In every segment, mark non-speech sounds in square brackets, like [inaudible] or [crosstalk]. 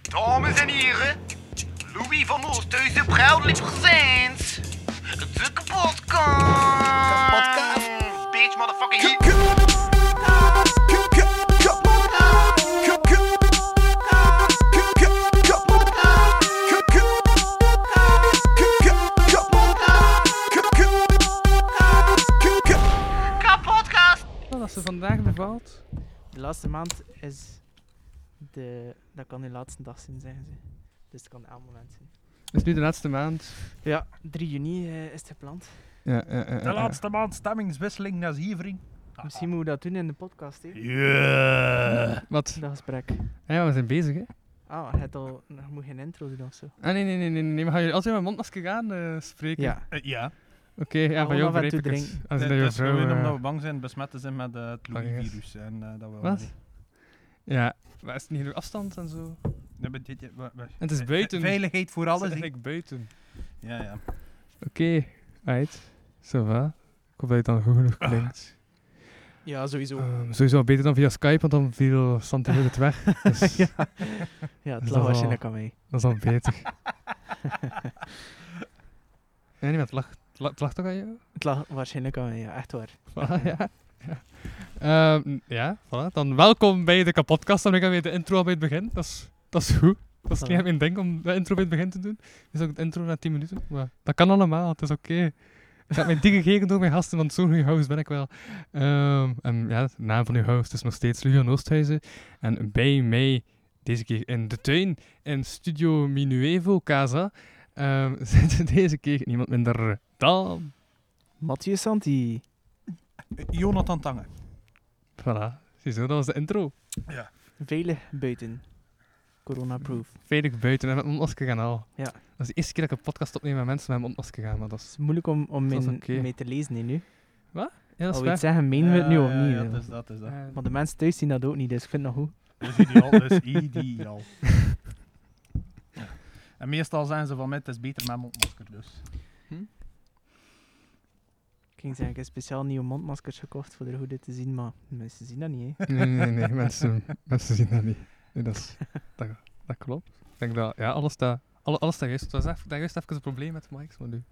Dames en heren, Louis van Oosthuizen, proudly presents de kapotkast. Kapotkast. Bitch, motherfucking K- hit. k- k- k- kapotkast. K- k- k- k- kapotkast. K- k- k- k- kapotkast. K- k- k- k- Kapotkast. Wel, Als ze vandaag bevalt. De laatste maand is de. Dat kan de laatste dag zijn, zeggen ze. Dus dat kan elk moment zijn. Het is nu de laatste maand. Ja, 3 juni eh, is het gepland. Ja, ja, ja, De laatste maand stemmingswisseling, dat is hier, vriend. Misschien ah. moeten we dat doen in de podcast, hè? Ja. Wat? Dat gesprek. Ah ja, we zijn bezig, hè? Ah, je hebt al, je moet geen intro doen of zo. Ah, nee, nee, nee, nee. nee. Maar gaan jullie altijd met mondmasker aan eh, spreken? Ja. Ja, Oké, ja, van Gewoon jou af en begrijp ik toe het. drinken. het Als in dat jouw is vrouw... gewoon eh, omdat we bang zijn besmet te zijn met eh, het bang is. Louis-virus. En eh, dat we Wat? niet- Ja. Maar is het niet genoeg afstand en zo? Dat betekent- wa- wa- het is ve- buiten. Veiligheid voor Alles alles. hè. eigenlijk buiten. Ja, ja. Oké, uit. Ça va. Ik hoop dat je dan goed genoeg Ah. klinkt. Ja, sowieso. Ehm, sowieso wel beter dan via Skype, want dan viel Santi heel het [laughs] weg. Dus ja. ja, het Dus dat lag wel- waarschijnlijk aan mij. dat is dan beter. [laughs] nee, niemand lacht. Het lacht- het lacht toch aan jou? Het lag waarschijnlijk aan mij, ja, echt waar. Voilà, ja. Ja. [laughs] Ehm, ja, voilà. Dan welkom bij de kapotkast. Dan ben ik alweer de intro al bij het begin. Dat is, dat is goed. Dat is niet Voilà. aan mijn denk om de intro bij het begin te doen. Het is ook de intro na 10 minuten. Maar dat kan allemaal, het is oké. Ik heb mijn dingen gegeven door mijn gasten, want zo'n goede host ben ik wel. Ehm, en ja, de naam van uw host is nog steeds Lujan Oosthuizen. En bij mij, deze keer in de tuin, in Studio Minuevo Casa, ehm, [laughs] zit deze keer niemand minder dan... Mathieu Santi. Jonathan Tange. Voilà, ziezo, dat was de intro. Veilig buiten. Corona-proof. veilig buiten en met mondmasker gaan al. Ja. Dat is de eerste keer dat ik een podcast opneem met mensen met mondmasker gaan, maar dat Het is... is moeilijk om, om Dat is in- oké. mee te lezen hè, nu. Ja, dat Al is we waar. het zeggen, menen we het nu Ja, of ja, niet? Ja, hè. dat is dat. Is dat. Eh, Maar de mensen thuis zien dat ook niet, dus ik vind het nog goed. Dat is ideaal. Dat [laughs] is ideaal. Ja. En meestal zeggen ze van mij, het is beter met mondmasker dus. Ik ging zeggen, ik heb speciaal nieuwe mondmaskers gekocht voor de goede te zien, maar de mensen zien dat niet, hè. [laughs] Nee, nee, nee, mensen, mensen zien dat niet. Nee, dat, is, dat, dat klopt. Ik denk dat, ja, alles staat, alle- alles staat juist. Dat is echt- dat is juist even een probleem met Mike's, maar nu...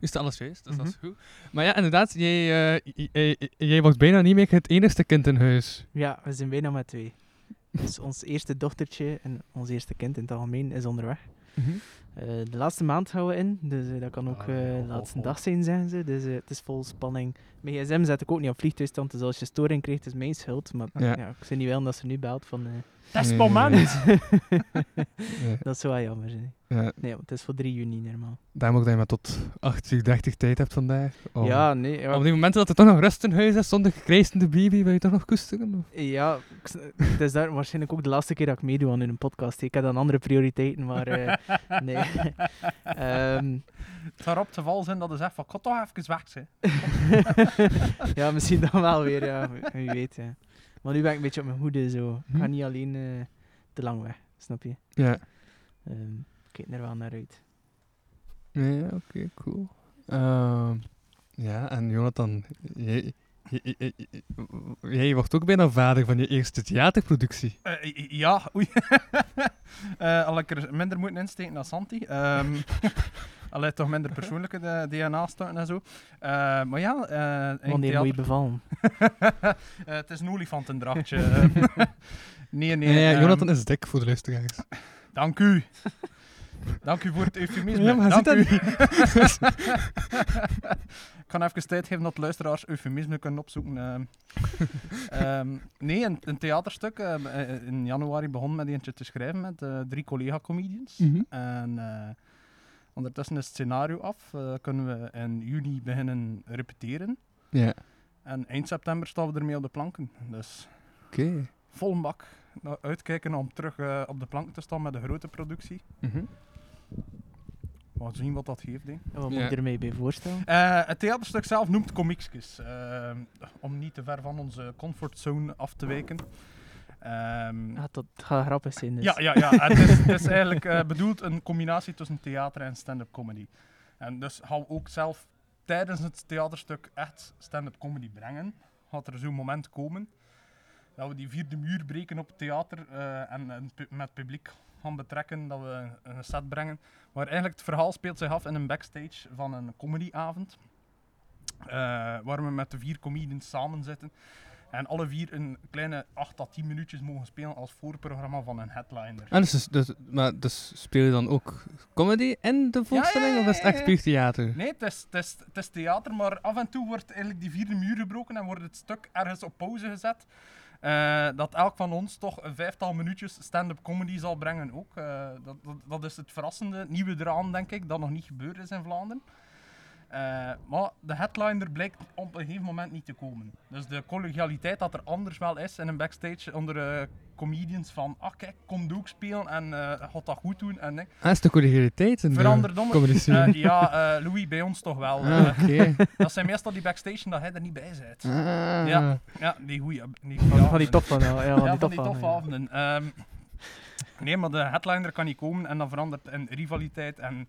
Nu staat alles juist, dus Mhm. dat is goed. Maar ja, inderdaad, jij, eh, j- jij, jij was bijna niet meer het enigste kind in huis. Ja, we zijn bijna met twee. Dus ons eerste dochtertje en ons eerste kind in het algemeen is onderweg. Eh, de laatste maand gaan we in, dus eh, dat kan ook Ah, eh, ja, de laatste hoop, hoop. dag zijn, zeggen ze. Dus eh, het is vol spanning. Mijn gsm zet ik ook niet op vliegtuigstand, dus als je storing krijgt, is mijn schuld. Maar Ja. ja. ik zou niet willen dat ze nu belt van... eh, Testmoment! Nee, Ja, [laughs] dat zou wel jammer zijn. ja, Nee, want het is voor 3 juni normaal. daarom ook dat je maar tot 8 uur 30 tijd hebt vandaag. Oh. om- Ja, nee. ja, Op die moment dat er toch nog rust in huis is zonder gekrijsende baby, wil je toch nog koesteren? Of? Ja, ik s- het is daar waarschijnlijk ook de laatste keer dat ik meedoe aan hun podcast. Ik had dan andere prioriteiten, maar [laughs] eh, nee. Ehm, [laughs] Het zou erop te val zijn dat ze zegt van, ik ga toch even weg zijn. ja, misschien dan wel weer, ja. Wie weet, ja. Maar nu ben ik een beetje op mijn hoede, zo. Ik ga Hm. niet alleen eh, te lang weg, snap je? Ja, Ehm, ik kijk er wel naar uit. nee, ja, oké, cool. Ehm, ja, en Jonathan, jij, jij- jij- jij- jij wordt ook bijna vader van je eerste theaterproductie. Eh, i- i- ja, oei. [laughs] Eh al ik er minder moeten insteken dan Santi. [laughs] Ehm allee, toch minder persoonlijke de- DNA-stukken en zo. Eh, maar ja, eh in Wanneer moet je theater- bevallen? [laughs] Eh, het is een olifantendrachtje. ehm. [laughs] nee, nee. Nee, ja, ehm, Jonathan is dik voor de luisteraars. Dank u. [laughs] Dank u voor het eufemisme. Ja, maar dank zit dat u. [laughs] ik kan even tijd geven dat luisteraars eufemisme kunnen opzoeken. [laughs] ehm. Ehm, nee, een, een theaterstuk. ehm, eh, eh, in januari begon met eentje te schrijven met eh, drie collega-comedians. Mhm. En eh, ondertussen is het scenario af. eh, kunnen we in juni beginnen repeteren. Ja, En eind september staan we ermee op de planken. Dus oké. vol bak. Nou, uitkijken om terug eh, op de plank te staan met de grote productie. Mhm. We gaan zien wat dat geeft. Hè. Wat moet Ja. je ermee bij voorstellen? Eh, het theaterstuk zelf noemt Comiekskes. eh, om niet te ver van onze comfortzone af te wijken. Ehm, Ah, dat gaat grappig zijn, dus. ja, ja, ja. Het is, het is eigenlijk eh, bedoeld een combinatie tussen theater en stand-up comedy. En dus hou ook zelf tijdens het theaterstuk echt stand-up comedy brengen. Gaat er zo'n moment komen dat we die vierde muur breken op het theater eh, en, en pu- met publiek gaan betrekken, dat we een- een set brengen. Maar eigenlijk het verhaal speelt zich af in een backstage van een comedyavond. eh, waar we met de vier comedians samen zitten. En alle vier een kleine 8 à 10 minuutjes mogen spelen als voorprogramma van een headliner. En dus, dus- dus, maar dus speel je dan ook comedy en de voorstelling? ja, Of is het ja, echt ja. puur theater? Nee, het is, het, is, het is theater, maar af en toe wordt eigenlijk die vierde muur gebroken en wordt het stuk ergens op pauze gezet. Eh, dat elk van ons toch een vijftal minuutjes stand-up comedy zal brengen ook. Eh, dat, dat, dat is het verrassende, het nieuwe eraan, denk ik, dat nog niet gebeurd is in Vlaanderen. Eh, maar de headliner blijkt op een gegeven moment niet te komen. Dus de collegialiteit dat er anders wel is in een backstage onder eh, comedians van ah kijk, kom ook spelen en eh gaat dat goed doen en ik. Ah, is de collegialiteit in Veranderd de om. comedy scene? Eh, ja, eh, Louis, bij ons toch wel. Ah, Eh, oké. dat zijn meestal die backstage dat hij er niet bij zit. [laughs] Ah. Ja. Ja, die goeie. Die goeie Van, van die avonden. top van wel. Ja, van Ja, die van top die toffe van. avonden. Ehm, nee, maar de headliner kan niet komen en dat verandert in rivaliteit en...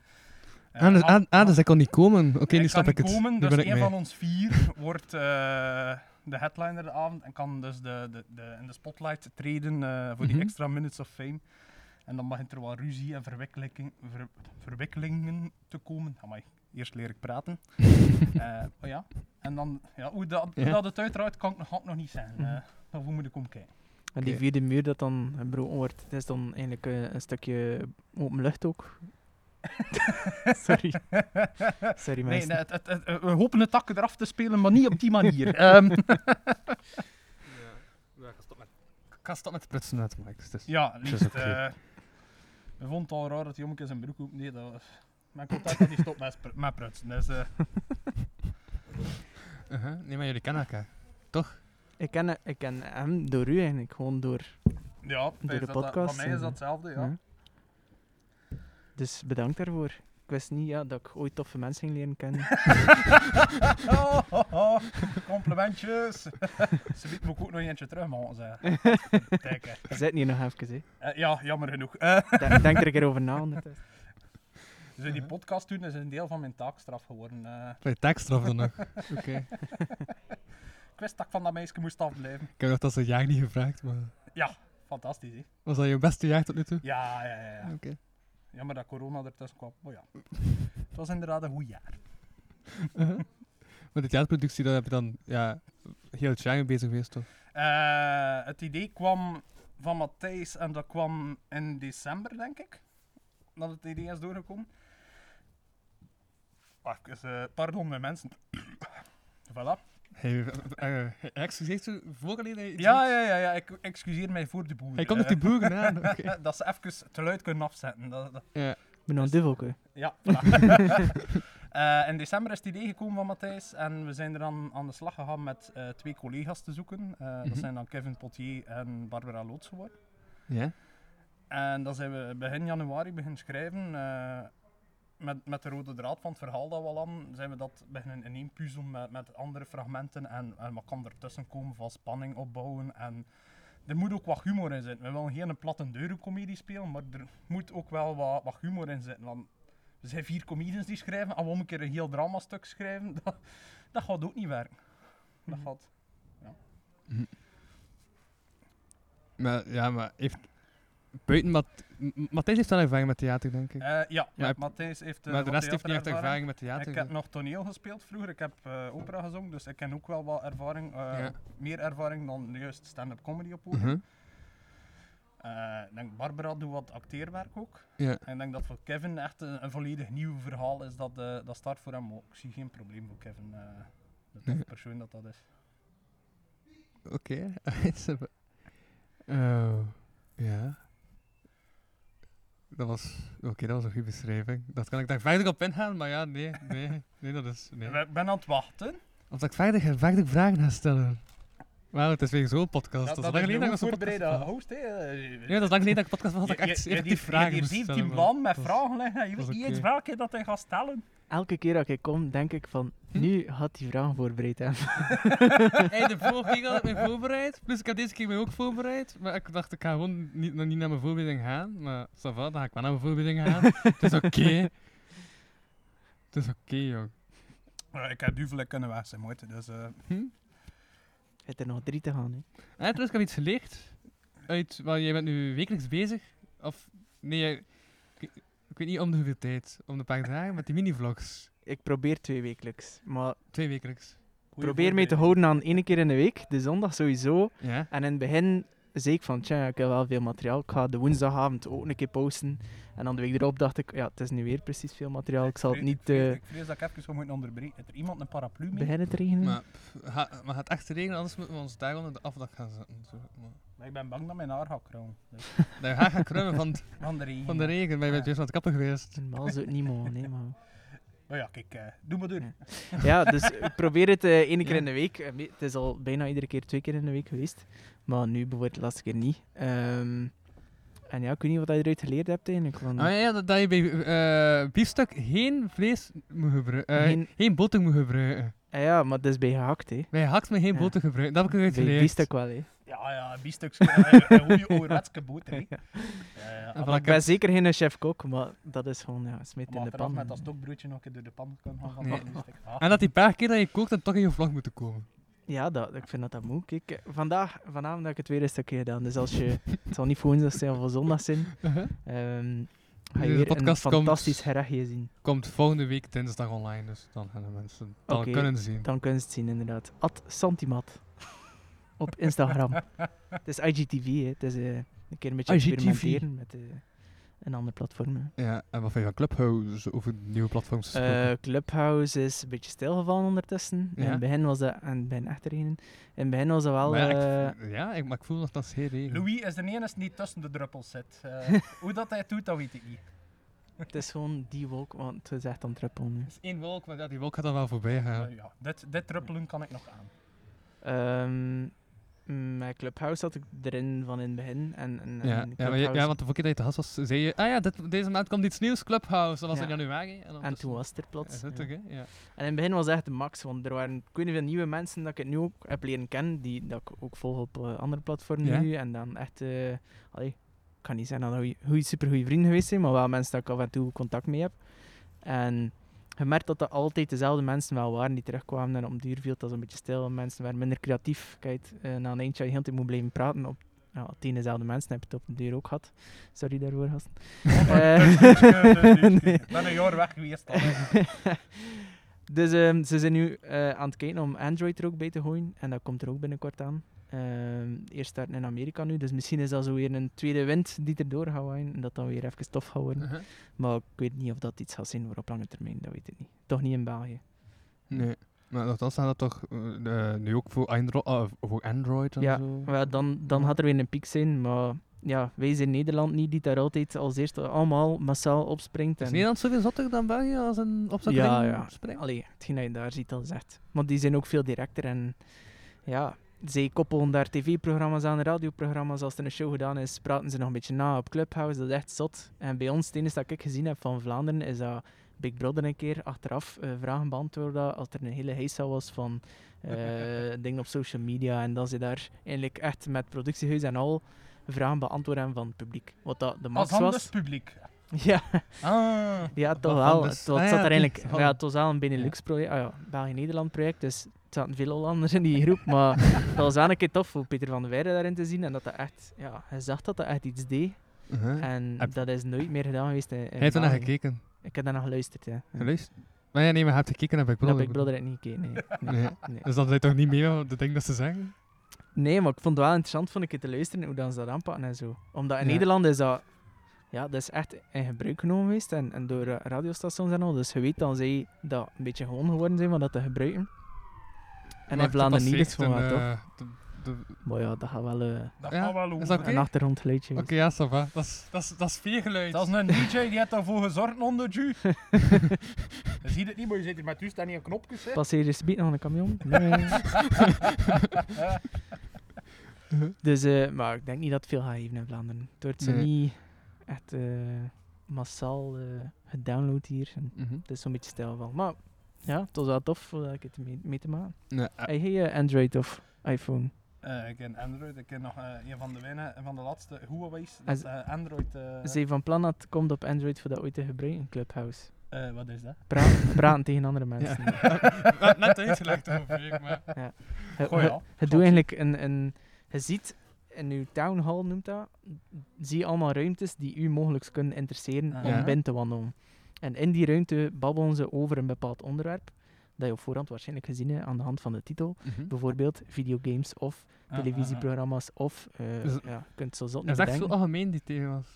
eh, Ah, dus, af- ah, ah, dus hij kan niet komen. Oké, hij nu snap kan ik het. niet komen, Nu dus ben ik een mee. van ons vier [laughs] wordt eh, de headliner de avond en kan dus de, de, de, in de spotlight treden eh, voor die Mhm. extra minutes of fame. En dan begint er wel ruzie en verwikkeling, ver- verwikkelingen te komen. Amai, eerst leer ik [laughs] praten. Eh, maar ja. En dan, ja, hoe, dat, hoe Ja. dat het uiteraard kan ik nog, had ik nog niet zeggen. Mhm. Eh, daarvoor moet ik [laughs] omkijken. En die Oké. vierde muur dat dan gebroken wordt, het is dan eigenlijk eh, een stukje open [laughs] lucht ook. Sorry. Sorry Nee, mensen. nee, het, het- het- eh, we hopen de takken eraf te spelen, maar niet op die [laughs] manier. Ehm, [laughs] ik ga stoppen met Prutsen uit de mic, dus het is- Ja, is liefst. oké. eh we vonden het al raar dat die jongetje zijn broek open deed. Dat was... Mijn contact had niet stopt met, spr- met prutsen. Dus, eh, Uh-huh. Nee, maar jullie kennen elkaar. Toch? Ik, ken, ik ken hem door u eigenlijk, gewoon door. ja, de fijn is dat dat- Van podcast mij is en- dat hetzelfde, ja. Ja. Dus bedankt daarvoor. Ik wist niet ja, dat ik ooit toffe mensen ging leren [laughs] kennen. Oh, oh, oh, complimentjes. Ze biedt me ook nog eentje terug, man. Zeg. Kijk, hè. Zit hier nog even, hè. Eh, ja, jammer genoeg. Eh, Denk, denk er een keer over na. ondertussen. dus die podcast doen is een deel van mijn taakstraf geworden. eh. Bij taakstraf dan [laughs] nog. Oké. ik wist dat ik van dat meisje moest afblijven. Ik heb nog dat ze jaar niet gevraagd, maar... Ja, fantastisch, hè. Was dat je beste jaar tot nu toe? Ja, ja, ja. ja. Oké. Jammer dat corona ertussen kwam. Maar ja, het was inderdaad een goed jaar. Uh-huh. Maar de theaterproductie, daar heb je dan ja, heel het jaar mee bezig geweest, toch? Eh, het idee kwam van Matthijs en dat kwam in december, denk ik. Dat het idee is doorgekomen. Wacht, eens, eh, pardon, mijn mensen. [coughs] voilà. Hij excuseert u voor alleen hij iets Ja, doet? ja, ja, ja, ik excuseer mij voor de boer. Hij komt op die boeren aan. Oké. dat ze even te luid kunnen afzetten. Dat, dat- Ik ben een duvelke. [laughs] ja, voilà. Eh, in december is het idee gekomen van Matthijs en we zijn er dan aan de slag gegaan met eh, twee collega's te zoeken. Eh, Mhm. Dat zijn dan Kevin Potier en Barbara Loots geworden. [laughs] Ja? En dan zijn we begin januari beginnen schrijven. eh, met, met de rode draad van het verhaal dat we al hadden, zijn we dat beginnen in één puzzel met, met andere fragmenten. En, en wat kan ertussen komen van spanning opbouwen. En er moet ook wat humor in zitten. We willen geen platte deurencomedie spelen, maar er moet ook wel wat, wat humor in zitten. Want er zijn vier comedians die schrijven, en we een keer een heel dramastuk schrijven, [laughs] dat, dat gaat ook niet werken. Dat Mhm. gaat... Maar, ja, maar heeft... Buiten Mat... M- Matthijs heeft wel ervaring met theater, denk ik. Eh, ja, Maar ja, heb- Matthijs heeft... eh, maar de wat rest heeft niet echt theaterervaring. ervaring met theater. Ik heb nog toneel gespeeld vroeger, ik heb eh, opera gezongen, dus ik ken ook wel wat ervaring. eh, Ja. Meer ervaring dan juist stand-up comedy op podium. Mhm. Eh, ik denk Barbara doet wat acteerwerk ook. Ja. En ik denk dat voor Kevin echt een, een volledig nieuw verhaal is dat, eh, dat start voor hem. ook. Ik zie geen probleem voor Kevin, eh, de toffe Nee. persoon dat dat is. Oké. [laughs] Oh, ja. Dat was, oké, dat was een goede beschrijving. Dat kan ik daar verder op ingaan, maar ja, nee, nee, nee, dat is, nee. Ik ben aan het wachten. Of dat ik verder, verder vragen ga stellen. Wauw, het is weer zo'n podcast. dat dat, dat is lang is de geleden dat goed ik zo'n podcast voorbereide had. host. hè. Eh, Ja, dat is lang geleden dat ik een podcast had, dat ik je- echt je- je- effectief vragen Je moest hebt stellen. 17 maar- plan met dat is- vragen liggen en je dat weet is niet eens oké. welke dat hij gaat stellen. Elke keer dat ik kom, denk ik van, Hm? nu had die vraag voorbereid hebben. [laughs] Hey, de vorige keer had ik me voorbereid. Plus ik had deze keer me ook voorbereid. Maar ik dacht, ik ga gewoon niet, nog niet naar mijn voorbereiding gaan. Maar ça va, dan ga ik wel naar mijn voorbereiding gaan. het is oké. Het is oké, joh. Eh, ik heb duvel kunnen weg zijn, moeite, dus... eh, Je hebt er nog drie te gaan, hè. Eh, En trouwens, ik heb iets geleerd. Uit, wel, jij bent nu wekelijks bezig. Of Nee, eh, ik, ik weet niet om de hoeveel tijd. Om de paar dagen met die mini-vlogs. Ik probeer twee wekelijks. Maar Twee wekelijks. probeer mee te houden aan één keer in de week, de zondag sowieso. Ja. En in het begin zei ik van, tja, ik heb wel veel materiaal. Ik ga de woensdagavond ook een keer posten. En dan de week erop dacht ik, ja, het is nu weer precies veel materiaal. Ik zal het niet Ik vrees, eh ik vrees dat ik even zou moeten onderbreken. Heeft er iemand een paraplu mee? beginnen te regenen. Maar, pff, ga- maar gaat echt regenen, anders moeten we ons daar onder de afdak gaan zetten. natuurlijk. Maar, Maar ik ben bang dat mijn haar gaat krullen. Dus, daar ga ik krummen van, van de regen. van de regen. Maar je bent juist aan het kappen geweest. Normaal zou het niet mogen, nee, maar... [laughs] Maar ja, kijk, eh, doe maar door. Ja. Ja, dus ik probeer het eh één keer in de week. Eh, me- Het is al bijna iedere keer twee keer in de week geweest. Maar nu bijvoorbeeld de laatste keer niet. Ehm, en ja, ik weet niet wat je eruit geleerd hebt eigenlijk. Van, Ah, ja, ja, dat, dat je bij eh, biefstuk geen vlees moet gebruiken. eh, Geen- geen... boter moet gebruiken. Ah ja, maar dat is bij gehakt, hè. Bij hakt moet je geen Ja. boter gebruiken. Dat heb ik Bij eruit geleerd. biefstuk wel, hè. Ja, ja, biefstuks. [laughs] eh, Een goede ouderwetse boter. hè. Eh, ah, Ja, ja. Als En voilà, Ik Ah, ik heb- ben zeker geen chef-kok, maar dat is gewoon, ja, smit in Maar de eraf pan. met dat stokbroodje nog een keer door de pan kan gaan van Nee. dat biefstuk. Ah. En dat die paar keer dat je kookt, dan toch in je vlog moeten komen. Ja, dat, ik vind dat dat moet. Kijk, eh, vandaag, vanavond heb ik het weer een stukje gedaan. Dus als [laughs] je, het zal niet voor woensdag zijn of voor zondag zijn, ehm, ga je Deze weer een podcast komt- fantastisch gerechtje zien. Komt volgende week dinsdag online, dus dan gaan de mensen dan Oké. kunnen zien. Dan kunnen ze het zien, inderdaad. At [laughs] Santimat. Op Instagram. het is IGTV, hè. Het is eh, een keer een beetje IGTV. experimenteren met eh, een ander platform. hè. Ja, en wat vind je van Clubhouse of nieuwe platforms gesproken? Eh, Clubhouse is een beetje stilgevallen ondertussen. In Ja. het begin was dat... En ben echt er een. In het begin was dat wel... maar eh, ja, ik, ja, ik, maar ik voel nog dat zeer regen. Louis is de enige die tussen de druppels zit. Eh, hoe dat hij het doet, dat weet ik niet. het is gewoon die wolk, want het is echt aan het druppelen nu. Het is één wolk, maar ja, die wolk gaat dan wel voorbij gaan. Eh, ja, dit, dit druppelen kan ik nog aan. Ehm, mm, met Clubhouse zat ik erin van in het begin. En, en, Ja, en ja, maar je- Clubhouse- ja, want de vorige keer dat je te gast was, zei je... Ah ja, dit- deze maand komt iets nieuws, Clubhouse. Dat was Ja. in januari. En, dus- en ondertussen- toen was het er Is plots. het ja. toch, hè? Ja. En in het begin was het echt de max, want er waren ik weet niet veel nieuwe mensen dat ik het nu ook heb leren kennen, die dat ik ook volg op eh, andere platformen Ja. nu. En dan echt, eh allee, ik kan niet zeggen dat we goeie, supergoeie vrienden geweest zijn, maar wel mensen dat ik af en toe contact mee heb. En je merkt dat dat altijd dezelfde mensen wel waren die terugkwamen en om duur viel dat een beetje stil. Mensen waren minder creatief. Kijk, eh, na een eindje had je heel de tijd moet blijven praten op ja, tien dezelfde mensen. Heb je het op de duur ook gehad. Sorry daarvoor, gasten. Eh, Dus, [laughs] nee. Ik ben een jaar weg [laughs] geweest. al, eh. hè. dus ehm, ze zijn nu eh, aan het kijken om Android er ook bij te gooien. En dat komt er ook binnenkort aan. Ehm, eerst starten in Amerika nu. Dus misschien is dat zo weer een tweede wind die erdoor gaat waaien. En dat dan weer even tof gaat worden. Uh-huh. Maar ik weet niet of dat iets gaat zijn voor op lange termijn. Dat weet ik niet. Toch niet in België. Nee. Maar nogthans staat dat toch eh, eh, nu ook voor, Andro ah, voor Android en Ja, zo? Maar ja, dan, dan gaat er weer een piek zijn. Maar ja, wij zijn Nederland niet die daar altijd als eerste allemaal massaal opspringt. Is En Nederland zoveel zotter dan België als een opzakkeling Ja, ja. springt? Allee, hetgeen dat je daar ziet, dat is echt... Want die zijn ook veel directer en... Ja, zij koppelen daar tv-programma's aan, radioprogramma's. Als er een show gedaan is, praten ze nog een beetje na op Clubhouse. Dat is echt zot. En bij ons, het enige dat ik gezien heb van Vlaanderen, is dat Big Brother een keer achteraf eh, vragen beantwoordde. Als er een hele heisa was [laughs] van eh, dingen op social media. En dat ze daar eigenlijk echt met productiehuis en al vragen beantwoorden van het publiek. Wat dat de Als max anders was. publiek. [laughs] Ja. Ah. Ja, toch Waarvan wel. dus- Het was- Ah het ja, zat er die eigenlijk, van- ja, het was wel een Benelux-project, ah ja, België-Nederland-project, dus het zaten veel Hollanders in die groep, [laughs] maar dat was wel een keer tof om Peter van der Weijden daarin te zien en dat dat echt, ja, hij zag dat dat echt iets deed Uh-huh. en Heb- dat is nooit meer gedaan geweest in, in Hij heeft er naar België. gekeken. Ik heb daarna geluisterd, ja. ja. Geluisterd? Maar ja, nee, maar hij heeft gekeken naar Big Dat Brother. heb ik Brother echt niet gekeken, nee. Nee. Nee. Dus dan zijn toch niet meer wat de ding dat ze zeggen? Nee, maar ik vond het wel interessant vond ik het te luisteren hoe dan ze dat aanpakken en zo. Omdat in Ja. Nederland is dat, ja, dat is echt in gebruik genomen geweest en, en door eh, radiostations en al. Dus je weet dan zij dat een beetje gewoon geworden zijn van dat te gebruiken. En in Vlaanderen niet, dus gewoon wel eh, toch? Maar ja, dat gaat wel eh, Dat Ja, gaat wel is over. Oké. een achtergrondgeluidje. Oké, wezen. ja, ça va. Dat is- dat is- dat is veergeluid. Dat is een DJ die heeft daarvoor gezorgd, [laughs] onderju. Je ziet het niet, maar je zit hier met u staan niet aan knopjes. Hè. Passeer je speed nog een [laughs] camion? Nee. [laughs] dus, eh, maar ik denk niet dat het veel gaat geven in Vlaanderen. Het wordt zo Nee. niet echt eh, massaal eh, gedownload hier. En Mhm. Het is zo'n beetje stijl van. Maar ja, het was wel tof om ik het mee, mee te maken. Nee, eh, [laughs] Hey, hey, eh, Android of iPhone. Eh, ik ken Android, ik ken nog eh, een van de weinigen, een van de laatste Huawei's. En Dat z- is, eh, Android. eh, Ze zijn van plan dat het komt op Android voor dat ooit te gebruiken, Clubhouse. eh, wat is dat? Praat, praten tegen andere [laughs] mensen. We hebben net uitgelegd over maar... Je- Goh, je- ja. je doet eigenlijk een, een... Je ziet in uw town hall noemt dat, zie je allemaal ruimtes die u mogelijk kunnen interesseren Ah. om Ja. binnen te wandelen. En in die ruimte babbelen ze over een bepaald onderwerp dat je op voorhand waarschijnlijk gezien hebt aan de hand van de titel. Mhm. Bijvoorbeeld videogames of Ah, ah, Dus- televisieprogramma's of, eh Is- ja, je kunt het zo zot Dat is niet echt zo bedenken. algemeen die thema's.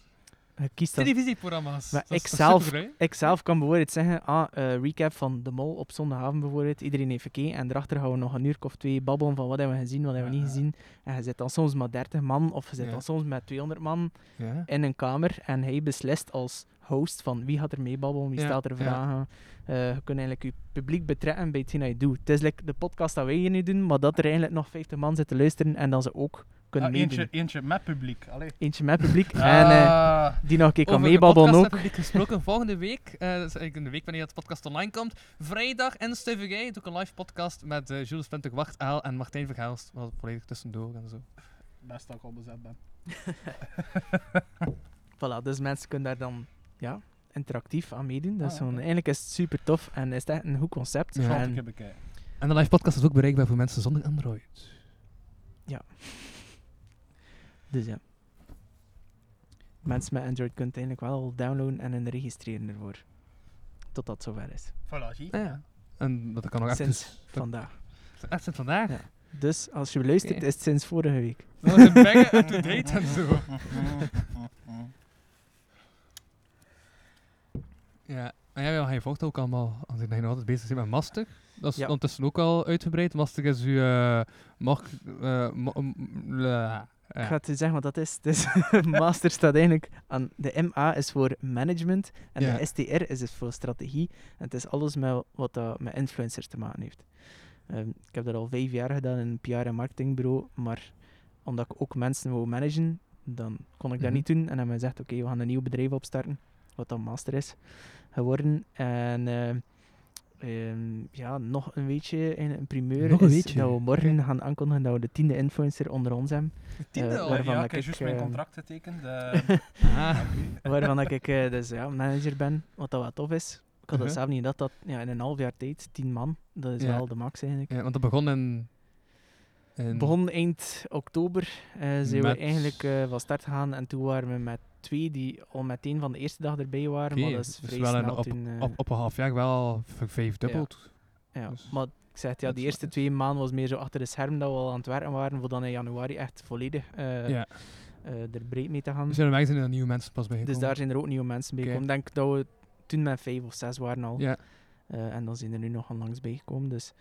ah, Je kiest dan Televisieprogramma's. Maar Dat is- ik dat is zelf- super, hè? ik zelf kan bijvoorbeeld zeggen, ah, eh, recap van De Mol op zondagavond bijvoorbeeld. Iedereen heeft gekeken en daarachter gaan we nog een uur of twee babbelen van wat hebben we gezien, wat hebben we niet Ah, Ja. gezien. En je zit dan soms met 30 man of je zit Ja. dan soms met 200 man Ja. in een kamer en hij beslist als host van wie gaat er mee babbelen, wie Ja, stelt er ja. vragen. Eh, je kunt eigenlijk je publiek betrekken bij hetgeen dat je doet. Het is like de podcast dat wij hier nu doen, maar dat er eigenlijk nog 50 man zitten luisteren en dat ze ook kunnen meedoen. Ah, eentje, eentje met publiek. Allee. Eentje met publiek en eh, Ah. die nog een keer kan Over de meebabbelen podcast ook. heb ik gesproken volgende week. eh, dat is eigenlijk in de week wanneer het podcast online komt. Vrijdag en Stevie Gay doe ik een live podcast met eh, Jules Pentuk Wachtaal en Martijn Verhaalst. Wat volledig tussendoor en zo. Best dat ik al bezet ben. Voilà, dus mensen kunnen daar dan ja, interactief aan meedoen. Dat is Ah, zo'n, oké. eigenlijk is het super tof en is het echt een goed concept. Ja. Zal En, ik even bekijken. En de live podcast is ook bereikbaar voor mensen zonder Android. dus ja. Mensen met Android kunnen het eigenlijk wel al downloaden en hun registreren ervoor. Totdat het zover is. Voilà, zie. Ah, Ja. En dat kan nog echt Sinds dus- Vandaag. Echt sinds vandaag. Ja. Dus als je luistert, Oké. is het sinds vorige week. Dat is een baggen en to date en zo. Ja. En ja, ja, je volgt ook allemaal, als ik nog altijd bezig ben met Master. Dat is Ja. ondertussen ook al uitgebreid. Master is uw... eh mag, eh, mo- m- eh, la- ja. Ik ga het u zeggen wat dat is. [laughs] Dus master staat eigenlijk aan... De MA is voor management en Ja. de STR is dus voor strategie. En het is alles met wat dat met influencers te maken heeft. Ehm, ik heb dat al vijf jaar gedaan in een PR- en marketingbureau, maar omdat ik ook mensen wou managen, dan kon ik dat Mhm. niet doen. En hebben we gezegd, oké, we gaan een nieuw bedrijf opstarten, wat dan master is geworden. En... ehm, ehm, ja, nog een weetje, en een primeur Nog een is weetje. dat we morgen gaan aankondigen dat we de tiende influencer onder ons hebben. Tiende Eh, al. waarvan ja, dat ik heb ik, juist mijn eh, contract getekend. eh, Ah. [laughs] Waarvan dat ik eh, dus ja, manager ben, wat dat wel tof is. Ik had dat Mhm. zelf niet dat dat ja, in een half jaar tijd, tien man, dat is Ja. wel de max eigenlijk. Ja, want dat begon in... in- Begon eind oktober, eh, zijn Met- we eigenlijk eh, van start gegaan en toen waren we met twee die al meteen van de eerste dag erbij waren, Oké, maar dat is dus vrij wel een snel toen, eh, op, op een half jaar wel v- vijfdubbeld. ja. dus Maar ik zeg, het, ja, dat is die wel eerste iets. twee maanden was meer zo achter de scherm dat we al aan het werken waren, voor dan in januari echt volledig eh, Ja. eh, er breed mee te gaan. Dus ja, wij zijn er nieuwe mensen pas bij Dus daar zijn er ook nieuwe mensen bij Oké. gekomen. Ik denk dat we toen met vijf of zes waren al. Ja, Eh, en dan zijn er nu nog onlangs bijgekomen. Dus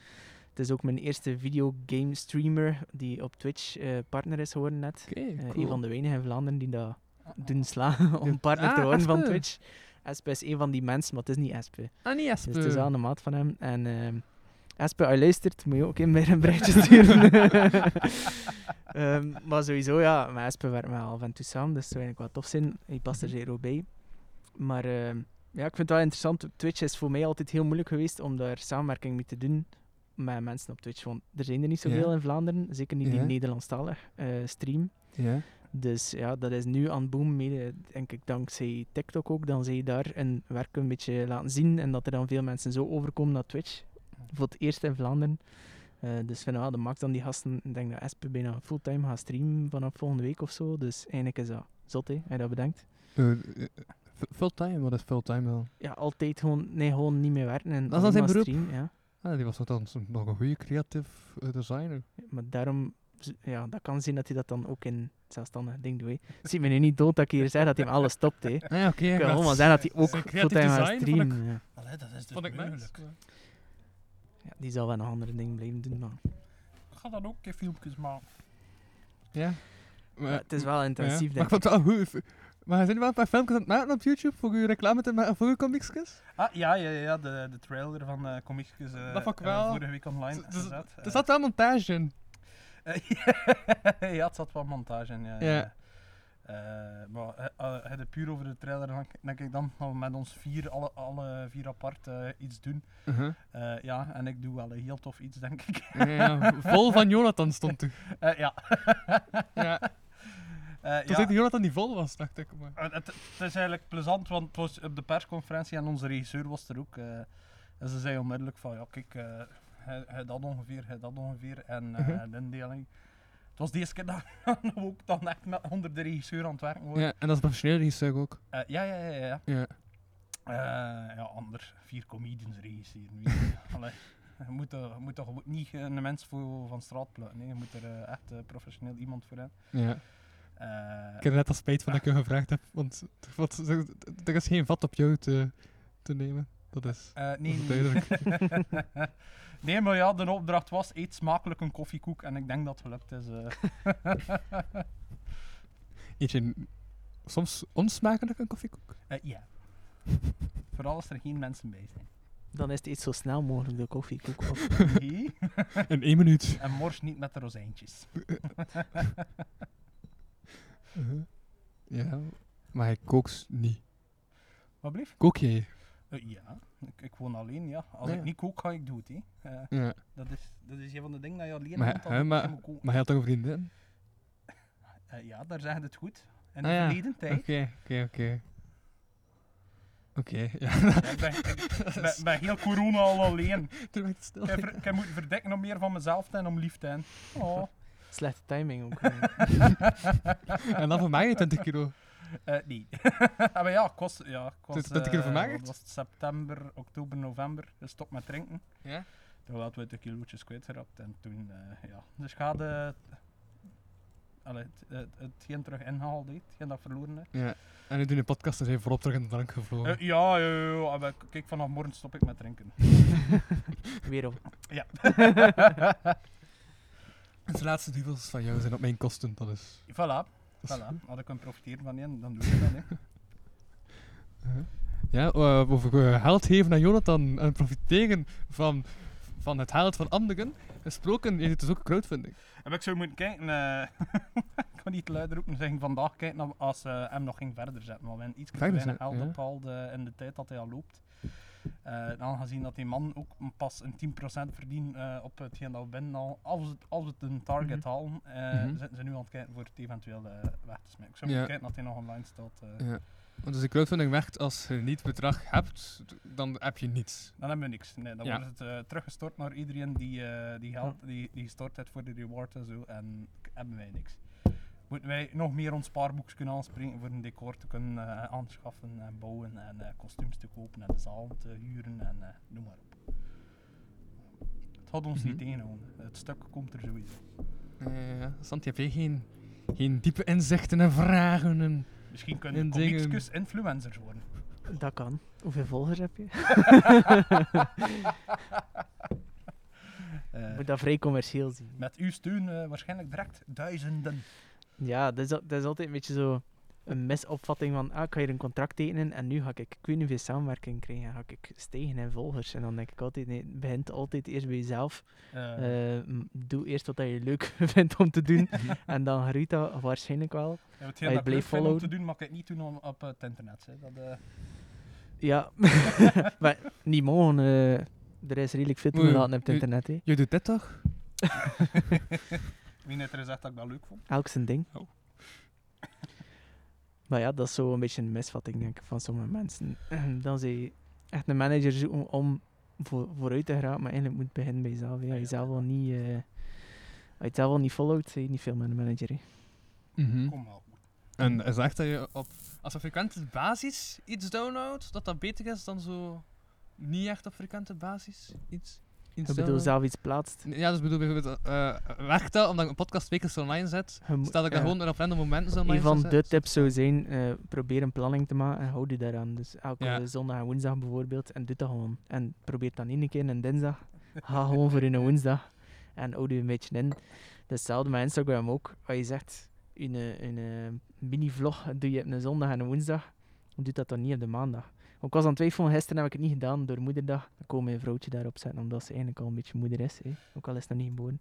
het is ook mijn eerste videogame streamer die op Twitch eh, partner is geworden net. oké, Eh, cool. Een van de weinigen in Vlaanderen die dat doen slaan [laughs] om partner te Ah, worden van Espe. Twitch. Espe is een van die mensen, maar het is niet Espe. Ah, niet Espe. Dus het is wel een maat van hem. En ehm Espe, als je luistert, moet je ook een meer een [laughs] berichtje sturen. [laughs] Ehm, maar sowieso, ja, met Espe werken we al van toe samen, dus het zou eigenlijk wel tof zijn. Hij past Mhm. er zeer goed bij. Maar ehm, ja, ik vind het wel interessant. Twitch is voor mij altijd heel moeilijk geweest om daar samenwerking mee te doen met mensen op Twitch. Want er zijn er niet zoveel Ja. in Vlaanderen, zeker niet Ja. die Nederlandstalig eh, stream. Ja. Dus ja, dat is nu aan het boom, mede, denk ik, dankzij TikTok ook. Dan zij daar hun werk een beetje laten zien en dat er dan veel mensen zo overkomen naar Twitch. Voor het eerst in Vlaanderen. Eh, dus vinden we wel de max aan die gasten. Ik denk dat Espe bijna fulltime gaat streamen vanaf volgende week of zo. Dus eigenlijk is dat zot, hè, als je dat bedenkt. Eh, eh, fu- Fulltime, wat is fulltime dan? Ja, altijd gewoon, nee, gewoon niet meer werken. En Dat is dan zijn alleen maar beroep. streamen, ja. Ah, die was dan zo- nog een goede creatief eh, designer. Maar daarom, z- ja, dat kan zien dat hij dat dan ook in zelfstandig ding doet. hè. Het ziet me nu niet dood dat ik hier zei dat hij hem alles stopt. Hè. Ik Ah, ja, oké. ja, kan maar dat allemaal zeggen dat hij zijn ook creatief fulltime gaat design vond ik- streamen. ja. Allee, dat is dus vond ik nice. moeilijk. Ja, die zal wel nog andere dingen blijven doen, maar... Ik ga dan ook een keer filmpjes maken. Ja. Maar- het is wel intensief, ja. Maar ik denk ik. vond het wel goed. Maar zijn er wel een paar filmpjes aan het maken op YouTube voor uw reclame te maken voor uw comicsjes? Ah, ja, ja, ja, de, de trailer van eh Comicus eh, Dat vond ik eh, wel. vorige week online Z- dus- gezet. Er zat wel montage in. Eh, [laughs] ja, het zat wel montage in. Ja, ja. Ja. Eh, maar eh, eh, het is puur over de trailer, dan k- denk ik dan dat we met ons vier, alle, alle vier apart eh, iets doen. Uh-huh. Eh, ja, en ik doe wel een heel tof iets, denk ik. Ja, ja, [laughs] vol van Jonathan stond toen. Eh, ja. [laughs] Ja, toen Eh, ja. zei Jonathan die vol was, dacht ik. Maar. Eh, Het, het is eigenlijk plezant, want het was op de persconferentie en onze regisseur was er ook. eh, en ze zei onmiddellijk van, ja kijk, eh, hij hij dat ongeveer, hij dat ongeveer en eh, Mhm. de indeling. Het was deze keer [laughs] dat we ook dan echt met, onder de regisseur aan het werken worden. Ja, en dat is professioneel regisseur ook. Eh, ja, ja, ja. ja. Ja. Eh, ja, anders vier comedians regisseren. weet [laughs] je. Allee, je moet, er- je moet toch niet een mens voor van straat plukken. hè. Je moet er eh, echt eh, professioneel iemand voor hebben. ja. Eh, Ik heb er net al spijt van dat ik je gevraagd heb, want er- wat- er- er is geen vat op jou te, te nemen. Dat is, eh, dat nee, is nee. duidelijk. [laughs] nee, maar ja, de opdracht was eet smakelijk een koffiekoek en ik denk dat het gelukt is. eh. [laughs] Eentje soms onsmakelijk een koffiekoek. Eh, ja. Vooral als er geen mensen bij zijn. Dan is het iets zo snel mogelijk de koffiekoek op. [laughs] Nee. In één minuut. En mors niet met de rozijntjes. Uh-huh. Ja, maar hij kookt dus niet. Wat blieft? Kook jij? Eh, ja, ik, ik woon alleen, ja. Als Ja. ik niet kook, ga ik doen het, hè. Eh, Ja. dat, is, dat is een van de dingen dat je alleen Maar, bent, dat hè, je maar- moet koken. Maar hij had toch een vriendin? Eh, ja, daar zeggen ze het goed. In de Ah, ja. verleden tijd. Oké, oké, oké. Oké, [laughs] ja. Ja, ik eh, ben, ik ben, ben heel corona al alleen. Toen werd het stil. Ik, heb ver- ik heb moeten verdekken om meer van mezelf te en om lief te hebben. Oh. Slechte timing ook. eh, hè. [laughs] En dan van mij 20 kilo. Eh, nee. [laughs] Ah, maar ja, ik was... Ja, ik was Zit- zit ik er eh, vermagerd? wat was het, september, oktober, november. Stop met drinken. Ja? Toen hadden we de kilootjes kwijtgerapt en toen, eh, ja. De schade... Allee, het, het, hetgeen terug ingehaald heeft, hetgeen dat verloren heeft. Ja. En nu doen de podcast en zijn voorop terug in de drank Eh, gevlogen. ja, ja, ja, ja, maar k- kijk, vanaf morgen stop ik met [laughs] drinken. Weer op. Ja. En de laatste duvels van jou zijn op mijn kosten, dat is... voilà, voilà. Had ik kunnen profiteren van één, dan doe ik dat, hè. Ja, eh, over eh, geld geven aan Jonathan en profiteren van, van het geld van anderen. Gesproken is het dus ook crowdfunding. Heb ik zo moeten kijken. eh [laughs] ik kan niet luid roepen zeggen vandaag kijken of- als eh hem nog ging verder zetten. Want we hebben iets te Verder weinig zetten, geld ja. opgehaald eh, in de tijd dat hij al loopt. Eh, en aangezien dat die man ook m- pas een 10% verdient eh, op hetgeen dat we binnen al, als het, als het een target Mhm. halen, eh, Mhm. zitten ze nu aan het kijken voor het eventueel eh, weg te smijten. Ik zou Ja. moeten kijken dat hij nog online staat. eh. Ja. Want dus de crowdfunding werkt als je niet bedrag hebt, d- dan heb je niets. Dan hebben we niks. Nee, dan Ja. wordt het eh, teruggestort naar iedereen die, eh, die geld die, die gestort heeft voor de reward en zo. En k- hebben wij niks. Moeten wij nog meer ons spaarboeks kunnen aanspringen voor een decor te kunnen eh, aanschaffen en bouwen en eh, kostuums te kopen en de zaal te huren en eh, noem maar op. Het had ons niet Mhm. tegenhouden. Het stuk komt er sowieso. Eh, ja, Sant, heb jij geen, geen diepe inzichten en vragen? En... Misschien En kunnen dingen- comicus influencers worden. Dat kan. Hoeveel volgers heb je? Eh, Moet dat vrij commercieel zien. met uw steun eh, waarschijnlijk direct duizenden. Ja, dat is, al- dat is altijd een beetje zo een misopvatting van, ah, ik ga hier een contract tekenen en nu ga ik, ik weet niet hoeveel samenwerking krijgen, ga ik stijgen in volgers. En dan denk ik altijd, nee, het begint altijd eerst bij jezelf. Eh, Eh, m- doe eerst wat dat je leuk [laughs] vindt om te [laughs] doen en dan groeit dat waarschijnlijk wel. Ja, Hij hetgeen dat ik leuk bleef vind om te followen. doen, mag ik het niet doen om- op eh, het internet. Hè. Dat, eh, [laughs] Ja, maar niet mogen, eh, er is redelijk veel te Oei, laten op het oei. internet. hè. Je doet dit toch? wie net er gezegd dat ik dat leuk vond. Elk zijn ding. Oh. Maar ja, dat is zo een beetje een misvatting, denk ik, van sommige mensen. [clears throat] Dat ze echt een manager zoeken om voor, vooruit te geraken, maar eigenlijk moet het beginnen bij jezelf. hè. Als je zelf al niet, eh, als je het zelf al niet followt, ben je niet veel met een manager. hè. Hm. Kom wel. Mhm. En is echt dat je op, als op frequente basis iets downloadt, dat dat beter is dan zo niet echt op frequente basis iets, iets Ik bedoel, zelf iets plaatst. Ja, dus bedoel bijvoorbeeld, eh werkt dat omdat ik een podcast wekelijks online zet? Je moet- Stel dat ik dat ja. gewoon op random momenten online Een van zet? de tips zou zijn, eh, probeer een planning te maken en houd je daaraan. Dus elke Ja. zondag en woensdag bijvoorbeeld, en doe dat gewoon. En probeer het dan één keer een dinsdag. Ga gewoon voor een woensdag en houd je een beetje in. Dat is Hetzelfde met Instagram ook. Als je zegt, een, een, een mini-vlog doe je op een zondag en een woensdag, doe dat dan niet op de maandag. Want Ik was aan het twijfelen, gisteren heb ik het niet gedaan door moederdag. Dan kon mijn vrouwtje daarop zetten, omdat ze eigenlijk al een beetje moeder is. Hè. Ook al is ze nog niet geboren.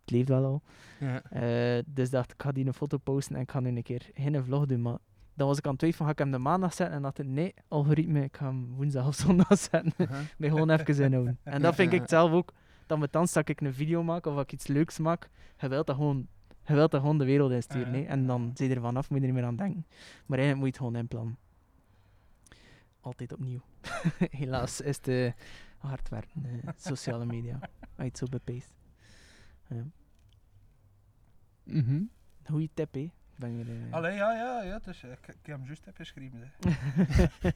Het leeft wel al. Ja. Eh, dus dacht ik, ik ga die een foto posten en ik ga nu een keer geen vlog doen. Maar dan was ik aan het twijfelen, ga ik hem de maandag zetten? En dacht ik, nee, algoritme, ik ga hem woensdag of zondag zetten. [laughs] Uh-huh. Mij gewoon even inhouden. En dat vind ik het zelf ook. Dan met dans dat ik een video maak of dat ik iets leuks maak, je wilt dat gewoon, je wilt dat gewoon de wereld insturen. Ja, hè. En dan zit je er vanaf, moet je er niet meer aan denken. Maar eigenlijk moet je het gewoon inplannen. Altijd opnieuw. [laughs] Helaas is het eh, hard werken, eh, sociale media. Als je het zo bepeest. Mhm. Goeie tip, hè? Ik Ben hier, eh, Allee, ja, ja, ja. Dus, ik, ik heb hem juist geschreven. Hè.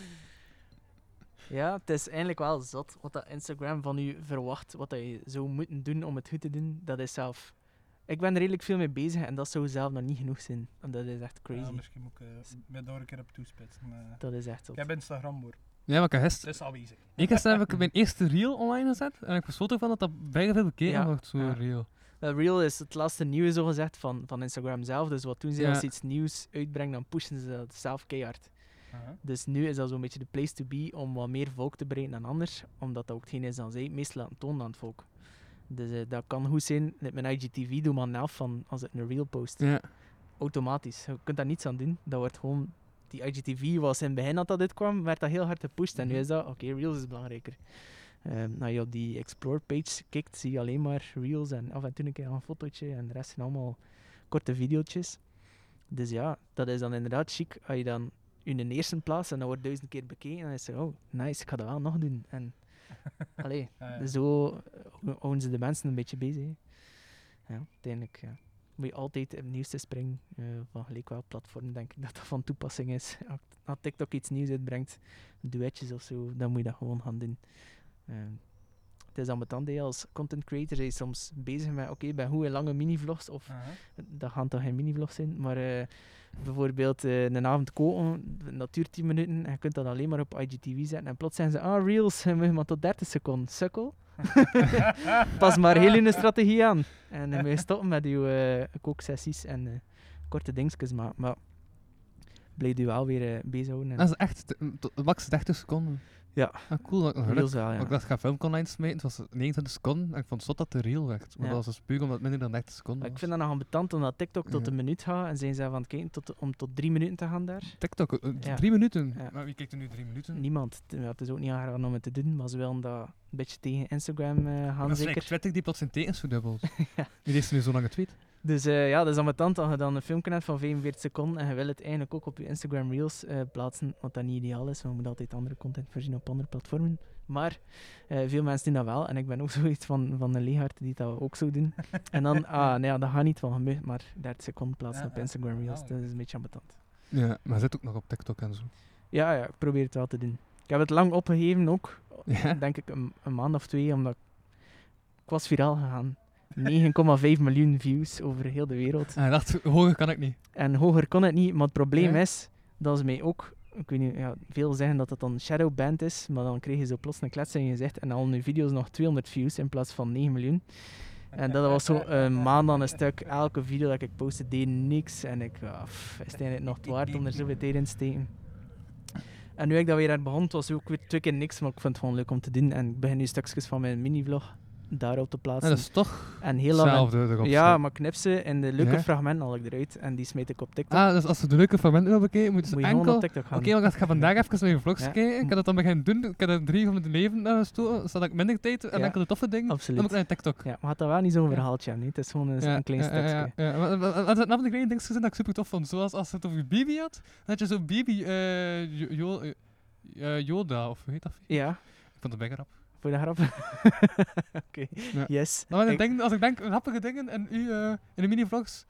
[laughs] ja, het is eigenlijk wel zot wat dat Instagram van u verwacht, wat dat je zou moeten doen om het goed te doen, dat is zelf... Ik ben er redelijk veel mee bezig en dat zou zelf nog niet genoeg zijn. En dat is echt Ja, crazy. misschien moet ik eh, me daar een keer op toespitsen. eh. dat is echt ik zot. heb Instagram hoor. Ja, maar ik heb Het gisteren- is aanwezig. ik heb gisteren heb ik mijn eerste reel online gezet en ik was zo ervan dat dat bijna veel bekeken Ja, wordt, zo'n ja. reel. Wel, Reel Eh, is het laatste nieuwe, zogezegd, van, van Instagram zelf. Dus wat doen ze? Ja. Als ze iets nieuws uitbrengen, dan pushen ze dat zelf keihard. Aha. Dus nu is dat zo'n beetje de place to be om wat meer volk te bereiken dan anders, omdat dat ook hetgeen is dat zij het meest laten tonen aan het volk. Dus eh, dat kan goed zijn. Met mijn IGTV doe maar een helft van als het een reel post. Ja. Automatisch. Je kunt daar niets aan doen. Dat wordt gewoon... Die IGTV was in het begin dat dat dit kwam, werd dat heel hard gepusht. En nu is dat, oké, reels is belangrijker. Ehm als je op die explore page kijkt, zie je alleen maar reels en af en toe een keer een fotootje. En de rest zijn allemaal korte video's. Dus ja, dat is dan inderdaad chic. Als je dan in de eerste plaats en dat wordt duizend keer bekeken, en dan is het oh, nice, ik ga dat wel nog doen. En allee, Ah, ja. zo eh, houden ze de mensen een beetje bezig. hè. Ja, uiteindelijk ja. moet je altijd op het nieuwste springen. eh, van gelijk wel platform, denk ik [laughs] dat dat van toepassing is. Als- Als TikTok iets nieuws uitbrengt, duetjes of zo, dan moet je dat gewoon gaan doen. Ehm, het is ambetant, hè, als content creator ben je soms bezig met, oké, ik ben goed in lange mini-vlogs of Aha. dat gaan toch geen mini-vlogs zijn, maar eh, bijvoorbeeld eh, een avond koken, dat duurt 10 minuten en je kunt dat alleen maar op IGTV zetten. En plots zeggen ze, ah, reels, en moet je maar tot 30 seconden. [laughs] Sukkel. Pas maar heel hun strategie aan. En dan moet je stoppen met je eh, kooksessies en eh, korte dingetjes, maar, maar blijf je wel weer eh, bezighouden. En Dat is echt, te- tot- max 30 seconden. Ja. Ah, cool, dat ik nog geluk reels wel, Want ja. ik dacht, ik ga film online smijten, het was 29 seconden en ik vond zot dat de reel werd. Maar Ja. dat was een spuug omdat het minder dan 30 seconden Maar was. ik vind dat nog ambetant omdat TikTok tot Ja. een minuut gaat en zijn ze van het kijken tot, om tot drie minuten te gaan daar. TikTok, eh, d- Ja. drie minuten. Ja. Maar wie kijkt er nu drie minuten? Niemand. T- ja, Het is ook niet aardig om het te doen, maar ze willen dat een beetje tegen Instagram eh dat gaan, is like zeker. Twitter die plots zijn tekens [laughs] verdubbelt. Die heeft nu zo'n lange tweet. Dus eh, ja, dat is ambetant als je dan een filmpje hebt van 45 seconden en je wil het eigenlijk ook op je Instagram Reels eh, plaatsen, wat dat niet ideaal is, want we moeten altijd andere content voorzien op andere platformen. Maar eh, veel mensen doen dat wel en ik ben ook [laughs] zoiets van, van een leehard die dat ook [laughs] zo doen. en dan, ah nee, ja, dat gaat niet van gemucht, maar 30 seconden plaatsen Ja, op ja, Ah, Instagram Reels, ja. dat is een beetje ambetant. Ja, maar zit ook nog op TikTok en zo. Ja, ja, ik probeer het wel te doen. Ik heb het lang opgegeven ook, Ja. [laughs] denk ik een, een maand of twee, omdat ik, ik was viraal gegaan. 9,5 miljoen views over heel de wereld. En hij dacht, Ah, hoger kan ik niet. En hoger kon het niet, maar het probleem Ja. is dat ze mij ook, ik weet niet, ja, veel zeggen dat dat dan shadowband is, maar dan kreeg je zo plots een klets in je gezicht en dan hadden je video's nog 200 views in plaats van 9 miljoen. En dat was zo een maand aan een stuk. Elke video dat ik postte deed niks. En ik, ah, pff, is het eigenlijk nog het waard om er zoveel tijd in te steken? En nu ik dat weer aan begon, het was ook weer twee keer niks, maar ik vind het gewoon leuk om te doen. En ik begin nu stukjes van mijn mini-vlog daarop te En plaatsen. dat is toch en heel lang. hetzelfde erop. ja, maar knip ze en de leuke Ja. fragmenten haal ik eruit. En die smijt ik op TikTok. Ah, dus als ze de leuke fragmenten wil bekijken, moeten ze Moet je gewoon enkel... op Oké, TikTok gaan. maar ik ga vandaag even naar je vlogs Ja. kijken. Ik kan dat dan beginnen doen. Ik kan er drie van mijn leven naar gestoken, zodat ik minder tijd heb en Ja. enkel de toffe dingen. Absoluut. Dan moet ik naar TikTok. Ja, maar had dat wel niet zo'n Ja. verhaaltje aan. hè. Het is gewoon een, een klein ja, stukje. Ja, ja, ja. Maar- maar- maar- maar dat nam de kleine dingetjes in dat ik super tof vond. Zoals als het over Bibi had, dan had je zo Bibi eh, Jo- Jo- eh, eh, Yoda, of hoe heet dat? Ja, Ik vond het bijna rap. voor de grap. [laughs] Oké, yes. Dan ik Ik- denk, als ik denk aan grappige dingen en u eh, in de mini-vlogs,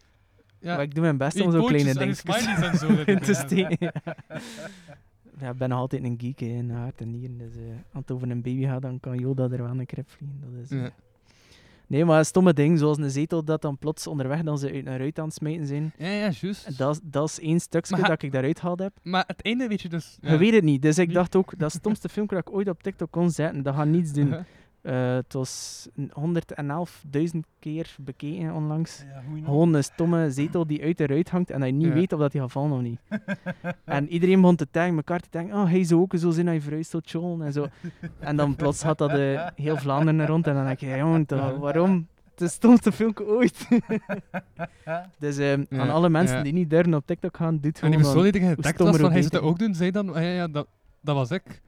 ja, Maar ik doe mijn best uw om zo'n pootjes kleine en uw dingetjes smileys en [laughs] zo. dat in ik- te ja. steken. [laughs] Ja, ik ben nog altijd een geek hè, in hart en nieren. Dus eh, als het over een baby gaat, dan kan Yoda er wel een krip vliegen. Dat is, eh. Ja. Nee, maar stomme dingen, zoals een zetel dat dan plots onderweg dan ze uit een ruit aan het smijten zijn. Ja, ja, juist. Dat, dat is één stukje Maar ha- dat ik daaruit gehaald heb. Maar het einde weet je dus. Je weet het niet. Dus ik Niet? dacht ook, dat stomste filmpje dat ik ooit op TikTok kon zetten, dat gaat niets [laughs] doen. Ja. Eh, het was een 111.000 keer bekeken onlangs. Ja, hoe nou? Gewoon [laughs] een stomme zetel die uit de ruit hangt en dat je niet Ja. weet of dat die gaat vallen of niet. [laughs] En iedereen begon te taggen, elkaar te denken, oh, hij zou ook zo zijn dat je verhuisd tot John en zo. En dan plots had dat eh, heel Vlaanderen rond en dan denk je, jongen, toch, waarom? Het is het stomste filmpje ooit. [laughs] dus eh, Ja, aan alle mensen ja. die niet durven op TikTok gaan, doet En die gewoon... persoon die tegen Oh, hoe getagd was stommer van ook hij zou beter. dat ook doen, zei dan, ah, ja, ja, dat, dat was ik.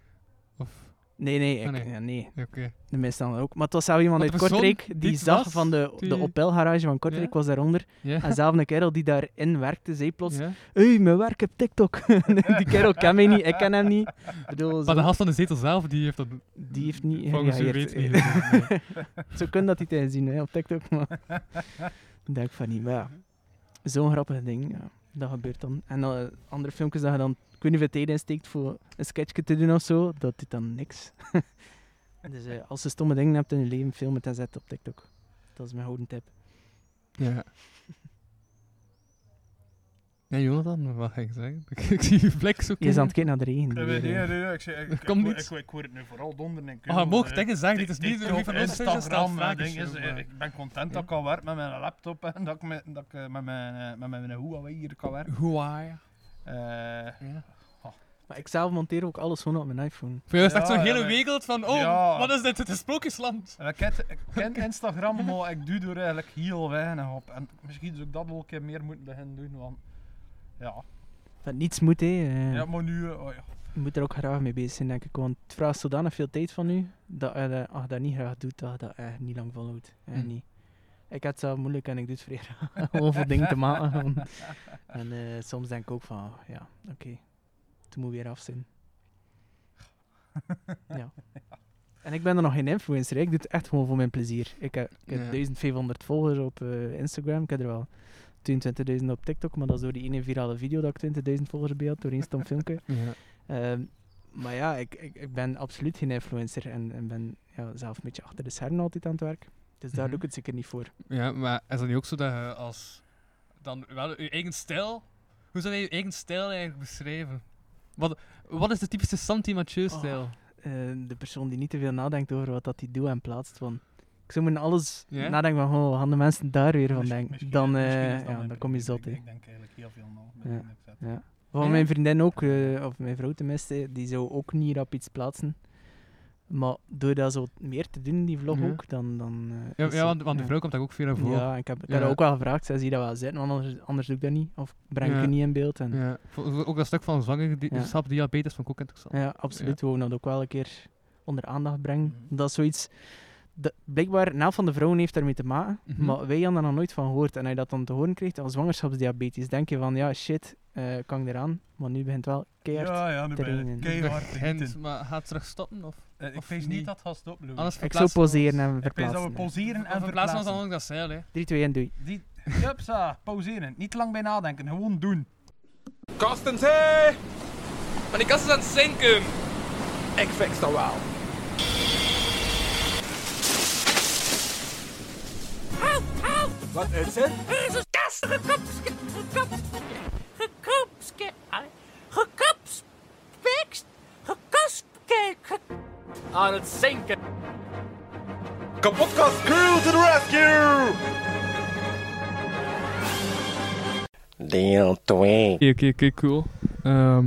Of, Nee, nee, ik, Ah, nee. ja, nee. Oké. De meeste dan ook. Maar het was zelf iemand Want uit er was zo'n- Kortrijk die dit zag was van de, de die- Opel-garage van Kortrijk Ja. was daaronder. Ja. En zelf een kerel die daarin werkte, zei plots: ja. Hé, mijn werk op TikTok. [laughs] die kerel ken mij niet, ik ken hem niet. Ik bedoel, Maar de zo- gast van de zetel zelf, die heeft dat die heeft niet volgens u gereageerd. weet niet. gedaan, nee. [laughs] Zo kunnen dat niet eens zien hè, op [laughs] TikTok, maar ik denk van niet. Maar ja, zo'n grappig ding, ja. dat gebeurt dan. En dan, eh, andere filmpjes dat je dan, ik weet niet of je tijd insteekt voor een sketchje te doen of zo, dat doet dan niks. [laughs] dus eh, als je stomme dingen hebt in je leven, film het en zet het op TikTok. Dat is mijn gouden tip. [laughs] Ja. Nee, Jonathan, wat ga ik zeggen? [laughs] Ik, zie je blik zo Je is aan kijken. het kijken naar de regen. [laughs] Nee, nee, nee, nee, ik, zeg- [laughs] ik, ik, Komt ik, niet. ik, ik hoor het nu vooral donderen. Ah, Oh, je mag dingen zeggen, dit is niet de TikTok, van ons Instagram, eh, ding is, eh, Hoe ik ben content dat ik kan werken met mijn laptop en dat ik met, dat ik, eh, met, mijn, eh, met mijn Huawei hier kan werken. are you? Eh, Ja. Maar ik zelf monteer ook alles gewoon op mijn iPhone. Voor jou is het echt Ja, zo'n ja, hele maar- wereld van, oh, Ja. wat is dit? Het is sprookjesland. ik, ken, ik ken Instagram, maar ik doe er eigenlijk heel weinig op. En misschien zou ik dat wel een keer meer moeten beginnen doen, want ja. Dat niets moet, hè. eh. Ja, maar nu... eh, oh ja. Je moet er ook graag mee bezig zijn, denk ik. Want het vraagt zodanig veel tijd van u, dat je dat, als je dat niet graag doet, dat je dat echt niet lang volhoudt. Echt Hm. niet. Ik had het zelf moeilijk en ik doe het vrij graag. [laughs] Gewoon voor dingen te maken. gewoon. en eh, soms denk ik ook van, ah, ja, oké. Het moet weer af zijn. ja. En ik ben er nog geen influencer, hè. ik doe het echt gewoon voor mijn plezier. Ik heb, ik heb Ja. 1500 volgers op eh, Instagram, ik heb er wel 22.000 op TikTok, maar dat is door die ene virale video dat ik 20.000 volgers bij had, door één stom filmpje. Ja. Ehm, maar ja, ik, ik, ik ben absoluut geen influencer en, en ben ja, zelf een beetje achter de schermen altijd aan het werk. Dus daar doe ik Mhm. het zeker niet voor. Ja, maar is dat niet ook zo dat je als... Dan wel je eigen stijl... Hoe zou je je eigen stijl eigenlijk beschrijven? Wat, wat is de typische Santi Oh, Mathieu-stijl? Eh, de persoon die niet te veel nadenkt over wat dat hij doet en plaatst. Van, ik zou me in alles Ja? nadenken van, oh, wat gaan de mensen daar weer van Misschien- denken? misschien- Dan, eh, misschien is dat ja, mijn dan kom je probleem. zot. Ik, hè. ik denk eigenlijk heel veel nou, nog. Ja. bij de Ja. Van mijn vriendin ook, eh, of mijn vrouw tenminste, eh, die zou ook niet rap iets plaatsen. Maar door dat zo meer te doen, die vlog Mhm. Ja. ook, dan... dan eh, Ja, is ja het- want, want de ja. vrouw komt daar ook veel naar voren. Ja, ik heb, ik heb Ja. haar ook wel gevraagd. Zij zie dat wel zitten, want anders, anders doe ik dat niet. Of breng ik Ja. het niet in beeld. En, ja. Ja, vo- vo- ook dat stuk van zwangerschap, diabetes, vond ik ook interessant. absoluut. We wouden dat ook wel een keer onder aandacht brengen. Mhm. Dat is zoiets... dat- blijkbaar, een helft van de vrouwen heeft daarmee te maken. Mhm. Maar wij hadden daar nog nooit van gehoord. En als je dat dan te horen krijgt als zwangerschapsdiabetes, denk je van, ja, shit, eh, kan ik eraan? Maar nu begint wel keihard. Ja, ja, nu ben trainen. ik keihard Begint, genieten. maar gaat het terug stoppen? Of? Eh, Ik of vrees niet. niet dat het gaat stoppen, Louis. Anders ik zou verplaatsen we ons. poseren en Ik vrees dat we verplaatsen. pauzeren en Of In plaats van verplaatsen. dan ook dat zeil, hè. 3, 2, 1, doei. Die, hupsa, pauzeren. Niet lang bij nadenken, gewoon doen. Kastens, hey! Maar die kast is aan het zinken! Ik fix dat wel. Wat is het? Jezus, kast, gekopske, gekopske, gekopske, gekopspekst, gekopske, aan het zinken. Kapotkast crew to the rescue! Deel 2. Oké, oké, oké, cool. Ehm,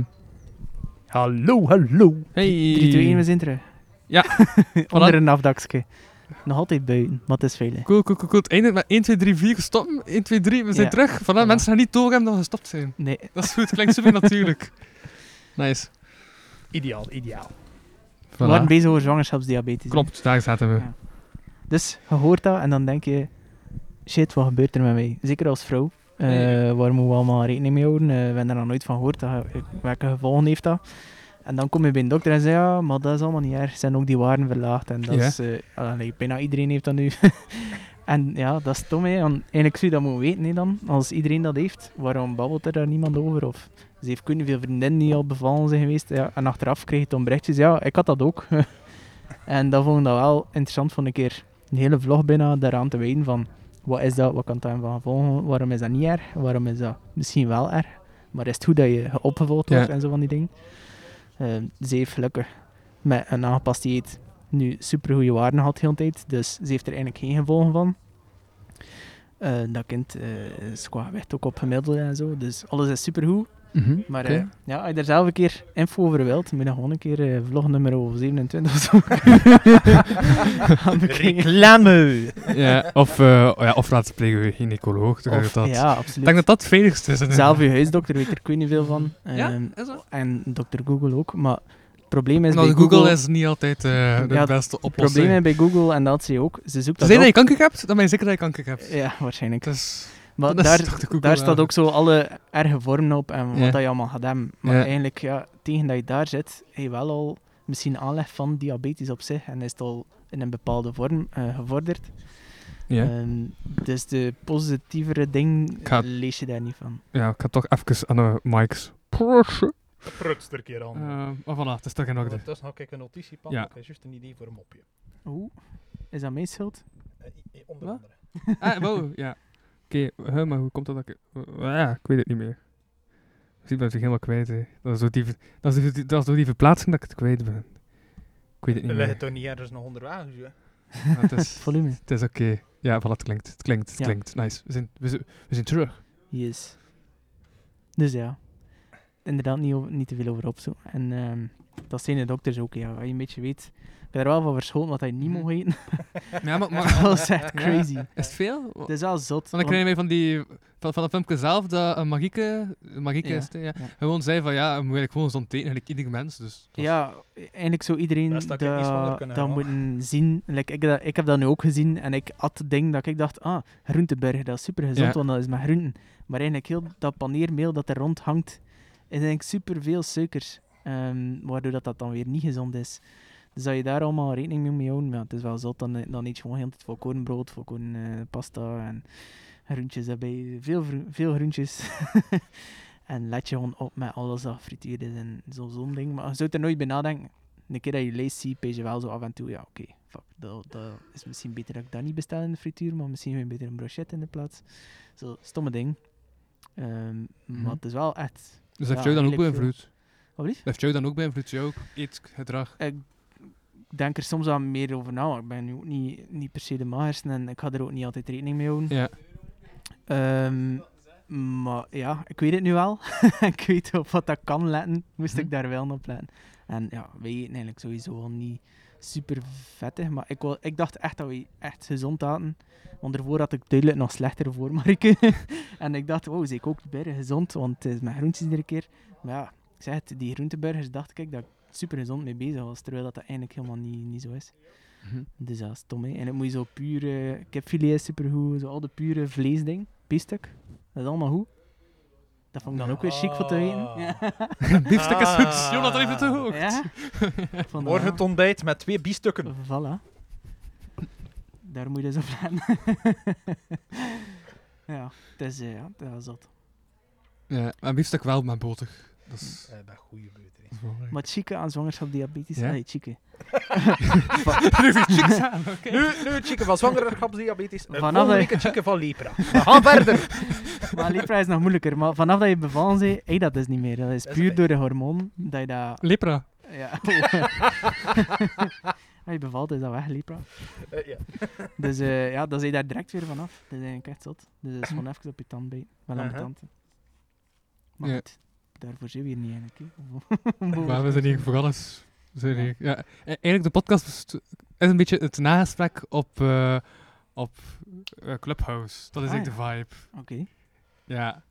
Hallo, hallo. hey! 3, 2, 1, we zijn terug. Ja. [laughs] Onder een afdakje. Nog altijd buiten, maar het is veilig. Cool, cool, cool, cool. Het einde met 1, 2, 3, 4 gestopt. 1, 2, 3, we zijn Ja. terug. Vandaar, Voilà. mensen gaan niet doorgaan dat we gestopt zijn. Nee, Dat is goed, klinkt super [laughs] natuurlijk. Nice. Ideaal, ideaal. Voilà. we waren bezig over zwangerschapsdiabetes. Klopt, daar zaten we. Ja. Dus je hoort dat en dan denk je, shit, wat gebeurt er met mij? Zeker als vrouw. Eh, Nee. Waar moeten we allemaal rekening mee houden? Eh, we hebben er nog nooit van gehoord dat, eh, welke gevolgen heeft dat. En dan kom je bij een dokter en zeg je, ja, maar dat is allemaal niet erg. Zijn ook die waarden verlaagd. En dat Ja. is, eh, allee, bijna iedereen heeft dat nu. [laughs] en ja, dat is stom. Hè. Want eigenlijk zou je dat moeten weten hè, dan. Als iedereen dat heeft, waarom babbelt er daar niemand over? Of ze heeft kunnen veel vriendinnen die al bevallen zijn geweest. Ja, en achteraf kreeg je dan berichtjes, ja, ik had dat ook. en dat vond ik dat wel interessant van een keer een hele vlog bijna daaraan te wijden van wat is dat, wat kan daar van volgen, waarom is dat niet erg, waarom is dat misschien wel erg, maar is het goed dat je opgevolgd wordt Ja. en zo van die dingen. Ehm ze heeft gelukkig met een aangepast dieet nu super goede waarden gehad de hele tijd, dus ze heeft er eigenlijk geen gevolgen van. Eh, dat kind eh, is qua weg ook op gemiddelde en zo, dus alles is supergoed. Maar Oké. eh, ja, als je daar zelf een keer info over wilt, moet je dan gewoon een keer eh, vlog nummer [laughs] 27 of zo. gaan bekijken. Reclame! [laughs] ja, of, eh, ja, of laat spreken we gynaecoloog. dan Of- gaat dat. Ja, Ik absoluut. denk dat dat het veiligst is. Zelf je huisdokter weet er kun je niet veel van. Ja, Ehm, is dat? en dokter Google ook. Maar Het probleem is Nou, bij Google, is niet altijd eh, de Ja, het beste Het probleem is oplossing. bij Google, en dat zie je ook, ze zoekt Ze dat zijn dat je op. kanker hebt, dan ben je zeker dat je kanker hebt. Ja, waarschijnlijk. Dus, Maar dat is daar, toch de Google eh, daar staat wel. ook zo alle erge vormen op en wat Ja. dat je allemaal gaat hebben. Maar Ja. eigenlijk, ja, tegen dat je daar zit, heb je wel al misschien aanleg van diabetes op zich en is het al in een bepaalde vorm eh, gevorderd. ja. Ehm, dus de positievere ding Ik ga- lees je daar niet van. ja, ik ga toch even aan de mics. Prutsen. Prutst er een keer aan. Eh, maar voilà, het is toch in orde. Ondertussen had ik een notitie Ja. pakken. Dat is juist een idee voor een mopje. Oeh, is dat mijn schuld? Eh, eh, onder Wat? andere. Ah, wow, ja. Oké, hè, maar hoe komt dat dat ik... eh, ja, ik weet het niet meer. Misschien ben ik het helemaal kwijt, hè. Dat is, door die, ver- dat, is door die, dat is door die verplaatsing dat ik het kwijt ben. Ik weet het niet Leg het meer. toch niet ergens nog onderweg? dus, hè? Maar Het [laughs] is, Volume. het is oké. Ja, voilà, het klinkt. Het klinkt, het Ja. klinkt. Nice. We zijn, we, zijn, we zijn [laughs] terug. Yes. Dus ja, inderdaad niet, over- niet te veel over opzoeken. En ehm, dat zijn de dokters ook, ja. Wat je een beetje weet, ik ben er wel van verschoten wat hij niet Mhm. mag eten. Ja, maar... [laughs] dat is echt crazy. Is het veel? Het is wel Want zot. dan want- krijg je van die... Van, van dat filmpje zelf, dat een Marieke... Marieke Ja, is het, hè, ja. ja. Gewoon zei van, ja, moet ik gewoon zo'n teken, like, iedere mens. Dus dat is- Ja, eigenlijk zou iedereen Best dat ik er iets van had dat, kunnen dat halen. moeten zien. Like, ik, dat, ik heb dat nu ook gezien en ik had het ding dat ik dacht, ah, groenteburger, dat is super gezond, Ja. want dat is met groenten. Maar eigenlijk heel dat paneermeel dat er rond hangt, is eigenlijk superveel suikers, ehm, waardoor dat, dat dan weer niet gezond is. Dus dat je daar allemaal rekening mee moet houden, maar het is wel zot, dan, dan eet je gewoon heel de tijd volkorenbrood, volkoren eh, pasta en groentjes erbij. Veel, vro- veel groentjes. [laughs] en let je gewoon op met alles dat frituurd is en zo- zo'n ding. Maar je zou er nooit bij nadenken. Een keer dat je leest, zie je wel zo af en toe, ja oké, fuck, dat, dat is misschien beter dat ik dat niet bestel in de frituur, maar misschien gewoon beter een brochet in de plaats. Zo, stomme ding. Ehm, Mhm. Maar het is wel echt... Dus dat heeft Ja, jou dan ook eigenlijk veel. beïnvloed? Wat blieft? Dat heeft jou dan ook beïnvloed? Jouw eetgedrag? Ik denk er soms wel meer over na, want ik ben nu ook niet, niet per se de magerste en ik ga er ook niet altijd rekening mee houden. Ja. Ehm, maar ja, ik weet het nu wel. [laughs] ik weet op wat dat kan letten. Moest ik daar wel op letten. En ja, wij eten eigenlijk sowieso al niet super vettig. Maar ik, wou, ik dacht echt dat we echt gezond aten. Want daarvoor had ik duidelijk nog slechter voor Marike. [laughs] en ik dacht, "Oh, wow, zie ik ook bijna gezond. Want het is met groentjes iedere keer. Maar ja, ik zeg het, die groenteburgers dacht ik dat ik super gezond mee bezig was. Terwijl dat, dat eigenlijk helemaal niet, niet zo is. Mhm. Dus dat is stom, hè. En dan moet je zo pure... Kipfilet is supergoed. Zo al de pure vleesding. Biefstuk. Dat is allemaal goed. Dat vond ik dan ook weer chic voor te weten. Ah. Ja. [laughs] Biefstuk is goed. Ah. Jonathan heeft het te hoog. [laughs] Ja? Ik vond dat Morgen wel- het ontbijt met twee biestukken. Voilà. Daar moet je dus op letten. [laughs] ja, het is, eh, ja, dat is dat. Ja, maar biefstuk wel met boter. Dat is... Eh, dat goede [laughs] beurt. hè. dat is wel leuk. Maar chique aan zwangerschap, diabetes, Ja? ja? chique. [laughs] Ah, Nu, nu het chicken van zwangerschapsdiabetes. En Vanaf volgende dat- week het chicken van lepra. We [laughs] gaan verder. Maar Lepra is nog moeilijker. Maar vanaf dat je bevallen bent, hey, dat is niet meer. Dat is Dat is puur fijn. door de hormoon dat je dat... Lepra. [laughs] Ja. Als je bevalt, is dat weg, Lepra. Eh, ja. Dus eh, ja, dan zit je daar direct weer vanaf. Dat is eigenlijk echt zot. Dus dat is gewoon even op je tand bijten. Wel aan Aha. de tand. Maar Ja. goed, daarvoor zijn we hier niet eigenlijk. hè. Maar we zijn hier voor alles. We zijn hier- Ja. e- Eigenlijk, de podcast best- is een beetje het nagesprek op, eh, op eh, Clubhouse. Dat is Ah, eigenlijk de vibe. Oké. Ja.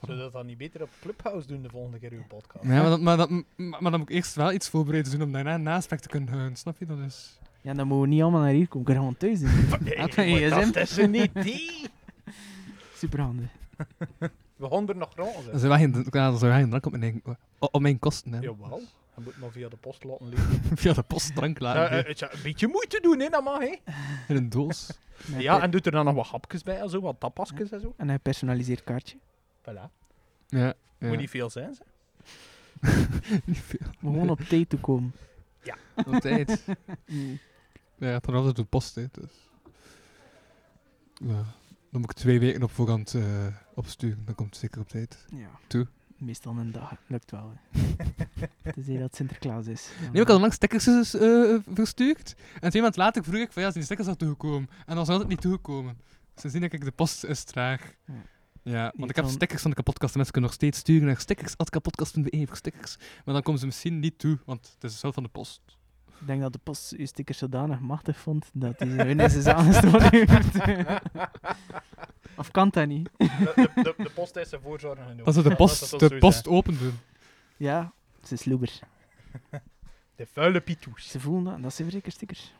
Zullen we dat dan niet beter op Clubhouse doen de volgende keer uw podcast? Ja, maar, dat, maar, dat, maar, maar dan moet ik eerst wel iets voorbereiden doen om daarna een nasprek te kunnen houden. Snap je? Dat is... [laughs] Ja, dan mogen we niet allemaal naar hier komen. We kunnen gewoon thuis doen. Nee, Had mijn maar ISM. Dat is een idee. Super handig. We gaan er nog rond Dat zijn. zou wel geen, ja, dat zou wel geen drank op mijn, op mijn kosten hebben. Jawel. Je moet maar via de post laten liggen. [laughs] Via de post drank laten. Eh, eh, het is een beetje moeite doen, hè, dat mag, hè. in een doos. Met Ja, pe- en doet er dan nog wat hapjes bij en zo, wat tapasjes en zo. en een personaliseerd kaartje. Voilà. Ja. ja. Moet niet veel zijn, zeg. [laughs] Niet veel. Om gewoon op tijd te komen. Op tijd. [laughs] Mm. Ja, het gaat altijd door de post, hè, dus. Ja. Dan moet ik twee weken op voorhand eh, opsturen, dan komt het zeker op tijd. Ja. Toe. Meestal een dag. Lukt wel. [laughs] hè. Tenzij dat Sinterklaas is. Nee, ik had onlangs stickers eh, verstuurd. En twee maanden later vroeg ik van ja, zijn die stickers al toegekomen? En dan was altijd niet toegekomen. Sindsdien denk ik, de post is traag. Ja. Ja, want ik heb kan- stickers van de kapotkast. en Mensen kunnen nog steeds sturen naar stickers. Adkapotkast.be voor stickers. Maar dan komen ze misschien niet toe, want het is zelf van de post. Ik denk dat de post uw sticker zodanig machtig vond dat hij zijn winnaars is aangestoken heeft. of kan dat niet? De, de, de, de post is zijn [laughs] voorzorgen genomen. [laughs] Dat ze de Laten we post, dat de zo post zeggen. open doen. Ja, ze is loeber. De vuile pitoes. Ze voelen dat, en dat zijn zeker stickers.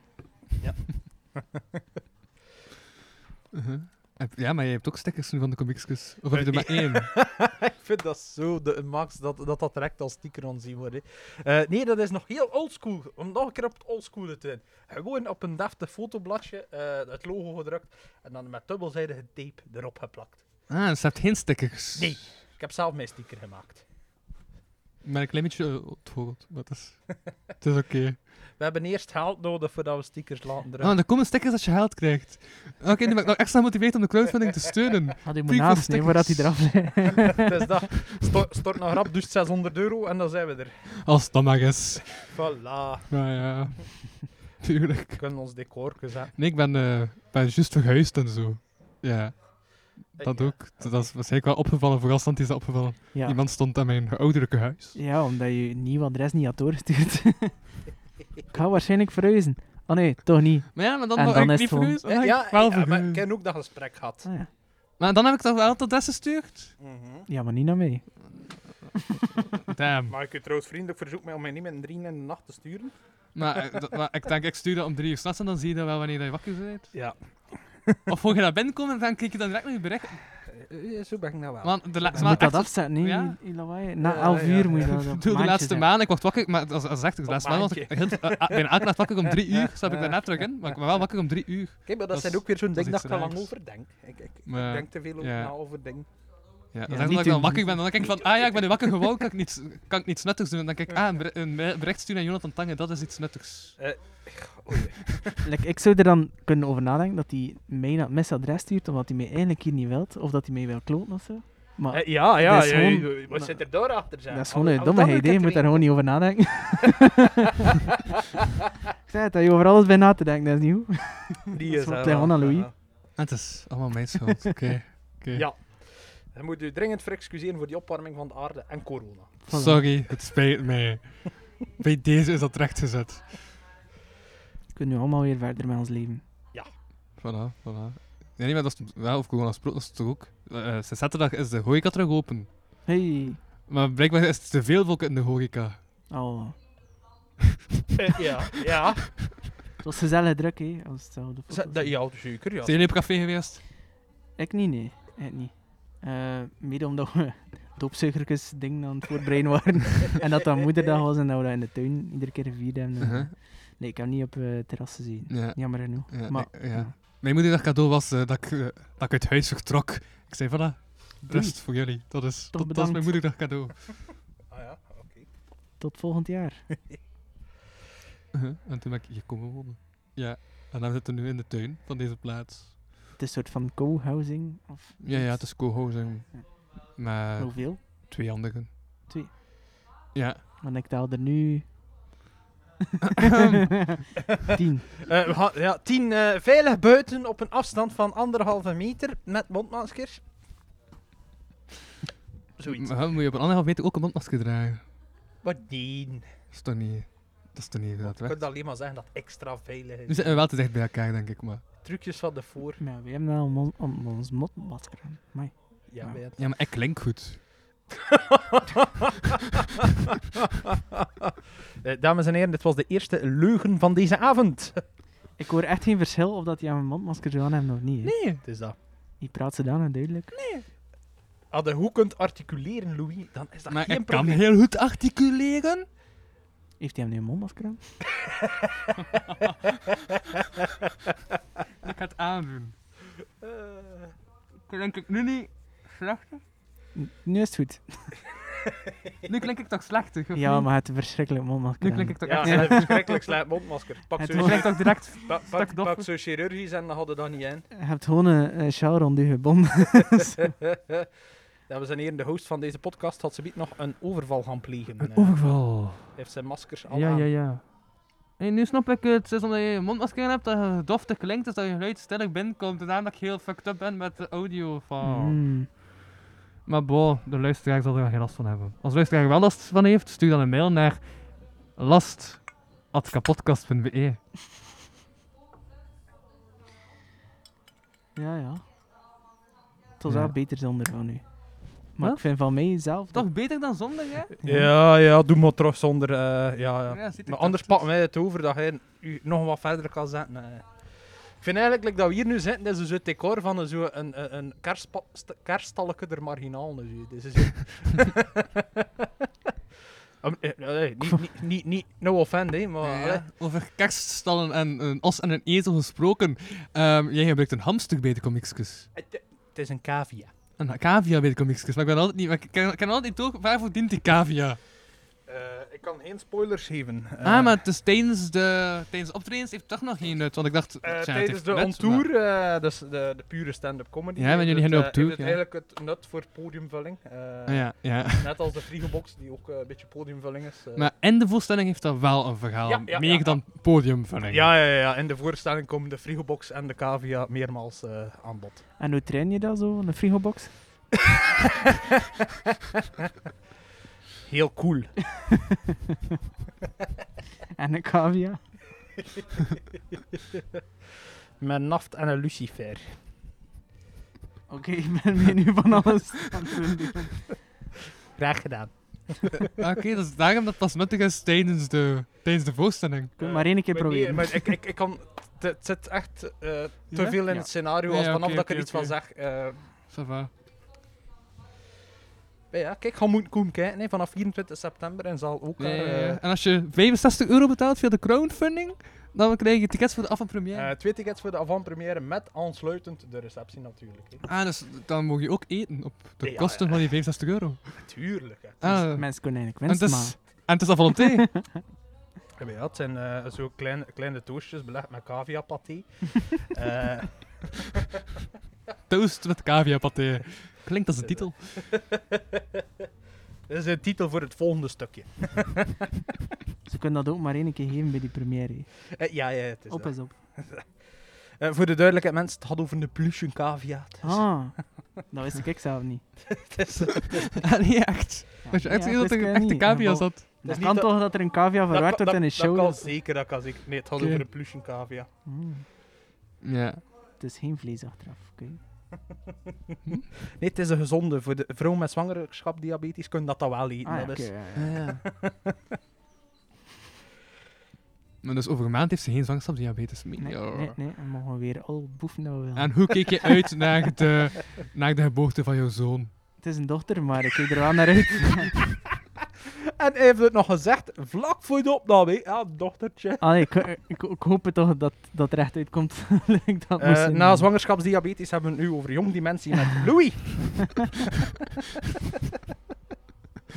Uh-huh. Heb- Ja, maar je hebt ook stickers nu van de comicskes. Of heb je er maar één? Ik vind dat zo de max dat dat, dat direct als sticker aanzien wordt. hè. Eh, nee, dat is nog heel oldschool. Om nog een keer op het oldschool te zijn. Gewoon op een deftig fotobladje eh, het logo gedrukt en dan met dubbelzijdige tape erop geplakt. Ah, er staat geen stickers. Nee. Ik heb zelf mijn sticker gemaakt. Maar een klein beetje eh, ontgoocheld, maar het [laughs] is... Het is oké. We hebben eerst geld nodig voordat we stickers laten drukken. Ah, er komen stickers als je geld krijgt. Ah, Oké, nu ben ik nog extra gemotiveerd om de crowdfunding te [laughs] steunen. Had u Piek moet voor naast nemen voordat hij stickers. eraf ligt. Dus dat stort, stort nog rap, dus 600 euro en dan zijn we er. Als het dan maar is. Voilà, Maar ja... [laughs] Tuurlijk. we kunnen ons decor zetten. Nee, ik ben, eh, ben juist verhuisd en zo. Ja, dat Ja. ook. Dat is waarschijnlijk wel opgevallen. Verrassend is dat opgevallen. Ja. Iemand stond aan mijn ouderlijke huis. ja, omdat je je nieuw adres niet had doorgestuurd. [laughs] ik ga waarschijnlijk verhuizen. Oh nee, toch niet. Maar ja, maar dan, En wou ik dan is niet het gewoon- verhuisd. dan Ja, had ja, ik wel ja, maar ik verhuisd. heb ook dat gesprek gehad. Ah, ja. Maar dan heb ik toch wel tot des gestuurd? Mhm. ja, maar niet naar mij. Damn. Maar ik u trouwens vriendelijk verzoek mij om mij niet met een drieën in de nacht te sturen? Maar, eh, dat- maar ik denk, ik stuur dat om drie uur s'nachts en dan zie je dat wel wanneer je wakker bent. Ja. Of voor je naar binnen komt en dan kijk je dan direct naar je bericht. zo ben ik nou wel. Want de Je laatste moet maand... dat afzetten, nee, Ja. je lawaai. Na Ja, 11 ja, uur ja. moet je dat Ik op bedoel, de maandje laatste zetten. maand, ik word wakker, maar als, als echt, de Op laatste maand was ik maandje. heel, eh, ah, bijna elke nacht wakker om drie uur, stap ik daarna terug in, maar ik ben wel wakker om drie uur. Kijk, maar dat, Dat zijn is- ook weer zo'n dat ding is dat ik iets te lang raars. over denk. Ik, ik, ik Maar, denk te veel over, ja. na over dingen. Ja, dat Ja, is echt niet omdat ik dan doen. wakker ben, dan denk ik van, ah ja, ik ben nu wakker geworden, kan ik niets, kan ik niets nuttigs doen. En dan denk ik, ah, een ber- een bericht sturen aan Jonathan Tange, dat is iets nuttigs. Like, ik zou er dan kunnen over nadenken dat hij mij naar het misadres stuurt, omdat hij mij eigenlijk hier niet wilt, of dat hij mij wil kloten of zo. Maar Eh, ja, ja, Dat is ja, gewoon- Wat wat zit zit er door achter zijn? dat is gewoon een domme idee, je moet daar gewoon niet over nadenken. ik zei het, dat je over alles bij na te denken, dat is nieuw. Die [laughs] dat is is wat Leon en Louis. Het is allemaal mijn [laughs] schuld, oké. oké. Ja. Dan moet u dringend verexcuseren voor die opwarming van de aarde en corona. Voilà. Sorry, het spijt mij. Bij deze is dat rechtgezet. We kunnen nu allemaal weer verder met ons leven. Voilà, voilà. Ja, nee, maar dat is wel, of corona sproot, dat is toch ook. Eh, eh, sinds zaterdag is de horeca terug open. Hey, Maar blijkbaar is het te veel volk in de horeca. oh, Eh, ja, ja. het was gezellig druk, hè, als het zo de foto's zijn. ja, zeker, ja. Zijn jullie op café geweest? Ik niet, nee. Ik niet. Eh, mede omdat we doopzuigertjes ding aan het voorbereiden waren. en dat dat moederdag was en dat we dat in de tuin iedere keer gevierd hebben. Uh-huh. Nee, ik heb niet op eh terrassen gezien. Ja. Jammer genoeg. Ja, maar, nee, ja. Mijn moederdag cadeau was eh, dat, ik, eh, dat ik uit huis vertrok. Ik zei, voilà, rust voor jullie. Dat is, dat, dat is bedankt. mijn moederdag cadeau. Ah, ja. oké. Tot volgend jaar. Uh-huh. En toen ben ik hier komen wonen. Ja, en dan zitten we nu in de tuin van deze plaats. Het is een soort van co-housing. Of Ja, ja, het is eh, co-housing. Maar Hoeveel? twee anderen. Twee. Ja. Want ik tel er [laughs] nu... Tien. Eh, we gaan- ja, tien eh, veilig buiten op een afstand van anderhalve meter met mondmaskers. Zoiets. Maar moet je op een anderhalf meter ook een mondmasker dragen? Wat dien. Dat is toch niet... Dat is toch niet hoe dat Ik werkt? kan alleen maar zeggen dat het extra veilig Nu is. zitten we wel te dicht bij elkaar, denk ik, maar... Trucjes van de voor. Ja, we hebben [laughs] nou om, om ons motmasker aan. Amai. Ja, Ja. bij het- Ja, maar ik klink goed. Eh, Dames en heren, dit was de eerste leugen van deze [laughs] avond. Ik hoor echt geen verschil of dat die aan een mondmasker zo aan hebben of niet. hè. Nee. Het is dat. Die praat ze dan duidelijk. Als je goed kunt articuleren, Louis, dan is dat Maar geen ik kan probleem. heel goed articuleren. Heeft hij hem nu een mondmasker aan? Ik ga het aandoen. Klink ik nu niet slechter? N- Nu is het goed. [laughs] Nu klink ik toch slechtig, of Ja, niet? maar het verschrikkelijk mondmasker Nu aan. klink ik toch Ja, echt en slechter. een [laughs] verschrikkelijk slijp mondmasker. Pak Het zo, Nu was- klink ik toch direct... pa- [laughs] pak, stak doffer. pak zo chirurgisch en dan hadden dat niet in. [laughs] Je hebt gewoon een, een sjaal rond je bond. Dames en heren, de host van deze podcast had ze biedt nog een overval gaan plegen. Eh, Overval. heeft zijn maskers al Ja, aan. ja, ja. Hey, nu snap ik het. Het is omdat je een mondmasker aan hebt dat je doftig klinkt, dus dat je geluid sterk binnenkomt. En daarom dat ik heel fucked up ben met de audio van... Hmm. Mm. Maar bo, de luisteraar zal er wel geen last van hebben. Als de luisteraar er wel last van heeft, stuur dan een mail naar last.kapodcast.be. Ja, ja. Het was Ja. wel beter zonder van nu. Maar Wat? ik vind van mijzelf dat Toch beter dan zonder, hè? Ja, ja, doe maar terug zonder... eh, ja, ja. Ja, zit Maar er anders toch pakken wij het over dat hij u nog wat verder kan zetten. eh. Ik vind eigenlijk like, dat we hier nu zitten, dat is zo'n decor van een, zo een, een- een kerstpa- st- kerststalletje der marginalen. Zo. Dus is hier- [laughs] Om- eh, eh, niet, niet, niet, niet, no offend, hè, maar... Ja, allee. Over kerststallen en een os en een ezel gesproken. Ehm, jij gebruikt een hamster bij de comicskus. Het is een cavia. Een cavia bij de comicskus. Maar ik ben altijd niet... maar Ik ken, ik ken altijd niet ook waarvoor dient die cavia. Eh, ik kan geen spoilers geven. eh. ah, maar dus tijdens de, tijdens de optredens heeft het toch nog geen nut. Want ik dacht... Eh, tja, het tijdens heeft de nut, ontour, eh, dus de, de pure stand-up comedy. eh, Ja, want jullie gaan nu op tour, Het ja. eigenlijk het nut voor podiumvulling. eh, maar- Ah, Ja, ja. Net als de frigobox, die ook eh, een beetje podiumvulling is. eh. Maar en de voorstelling heeft dan wel een verhaal. Ja, ja, meer ja, ja. dan podiumvulling. ja, ja, ja, ja. In de voorstelling komen de frigobox en de cavia meermaals eh, aan bod. En hoe train je dat zo, een frigobox? Heel cool. En een cavia? Met naft en een lucifer. Oké, ik ben [laughs] mee nu van [laughs] alles aan het doen. Graag gedaan. Ah, Oké, dat is daarom dat het pas nuttig is tijdens de, tijdens de voorstelling. Kun je maar één keer Eh, Maar nee, proberen. maar ik, ik, ik kan... t- Het zit echt eh, te Ja? veel in Ja. het scenario Ja, als ja, vanaf oké, dat ik er oké, iets oké. van zeg. eh, Ça va. ja, kijk, ga moet komen kijken hè, vanaf 24 september en zal ook... Ja, ja, eh, ja. En als je 65 euro betaalt via de crowdfunding, dan krijg je tickets voor de af- en première. Eh, twee tickets voor de avant-première met aansluitend de receptie natuurlijk. Hè. Ah, dus dan mogen je ook eten op de Ja, kosten ja. van die 65 euro. Natuurlijk. Hè. Ah, Dus Mensen kunnen en, eigenlijk het winst is, maken. en het is al [laughs] volonté. Ja, Ah. maar ja, het zijn eh, zo kleine, kleine toastjes belegd met cavia [laughs] paté. Eh, Toast met cavia paté. Klinkt als een titel. Dit is de titel voor het volgende stukje. Ze kunnen dat ook maar één keer geven bij die première. hè. Eh, ja, ja, het is Op dat. is op. Eh, voor de duidelijkheid, mensen, het had over de pluche cavia. Het is- Ah, dat wist ik zelf niet. het is- het is- [laughs] Ah, nee, echt. Ja, Als je echt ja, heel [laughs] dat wist er ik een niet. echte cavia Maar zat. Dat is kan niet toch dat er een cavia dat verwerkt kan- wordt in een dat- show? Dat kan dat- zeker, dat kan zeker. Nee, het had Oké. over de pluche cavia. Mm, Ja. het is geen vlees achteraf, oké. Nee, het is een gezonde. Voor de vrouw met zwangerschap diabetes kunnen dat, dat wel eten. Ah, ja, dat oké, is, ja, ja. Ah, ja. [laughs] maar dus over een maand heeft ze geen zwangerschapsdiabetes meer. Nee, nee, nee, dan mogen we weer al boeven dat we willen. En hoe keek je uit naar de, naar de geboorte van jouw zoon? Het is een dochter, maar ik kijk er wel naar uit. [laughs] En hij heeft het nog gezegd, vlak voor de opname. hè. Ja, dochtertje. Allee, ik, ik, ik hoop het toch dat dat er echt uitkomt. [laughs] Ik dat Eh, moest zijn. na zwangerschapsdiabetes hebben we het nu over jong dementie [laughs] met Louis. [laughs]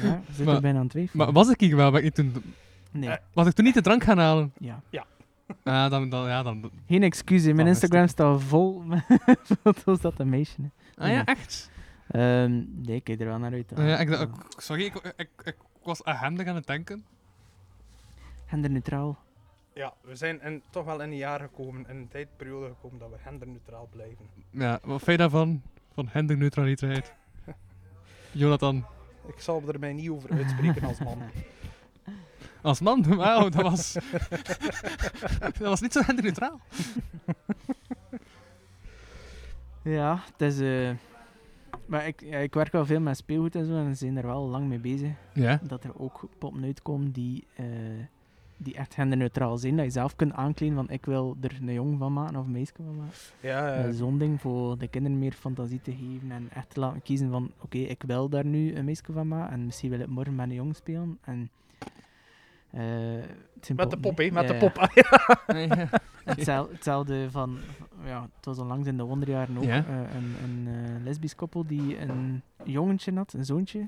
Ja, we zitten Maar- bijna aan het twijfelen. Maar was ik hier wel? Ben ik niet toen, nee, eh. was ik toen niet de drank gaan halen? ja. Ja, dan... dan, ja, dan Geen excuus, hè. Dan mijn is het Instagram staat vol [laughs] met foto's dat een meisje. hè. ah ja, echt? Ehm, nee, ik kijk er wel naar uit. Eh, Ah, ja, ik, Ja. dacht- ik- sorry, ik, ik, ik was agenda aan het denken. Genderneutraal. Ja, we zijn in, toch wel in een jaar gekomen, in een tijdperiode gekomen dat we genderneutraal blijven. Ja, wat vind je daarvan? Van genderneutraliteit? Jonathan. Ik zal er mij niet over uitspreken als [laughs] man. Als man? [laughs] Wauw, dat was... dat was niet zo genderneutraal. Ja, het is... eh, maar ik, ja, ik werk wel veel met speelgoed en zo en we zijn er wel lang mee bezig. Ja. dat er ook poppen uitkomen die, eh, die echt genderneutraal zijn. Dat je zelf kunt aankleden van ik wil er een jong van maken of een meisje van maken. Ja, Eh, eh, Zo'n ding voor de kinderen meer fantasie te geven en echt te laten kiezen van oké, ik wil daar nu een meisje van maken en misschien wil ik morgen met een jong spelen. En, eh, het zijn met de pop, poppen, hè? hè. Met de Ja, ja. pop. [laughs] Ah, ja. [laughs] Nee, ja. Hetzel- Hetzelfde van, ja, het was onlangs in de wonderjaren ook, Ja. eh, een, een eh, lesbisch koppel die een jongetje had, een zoontje,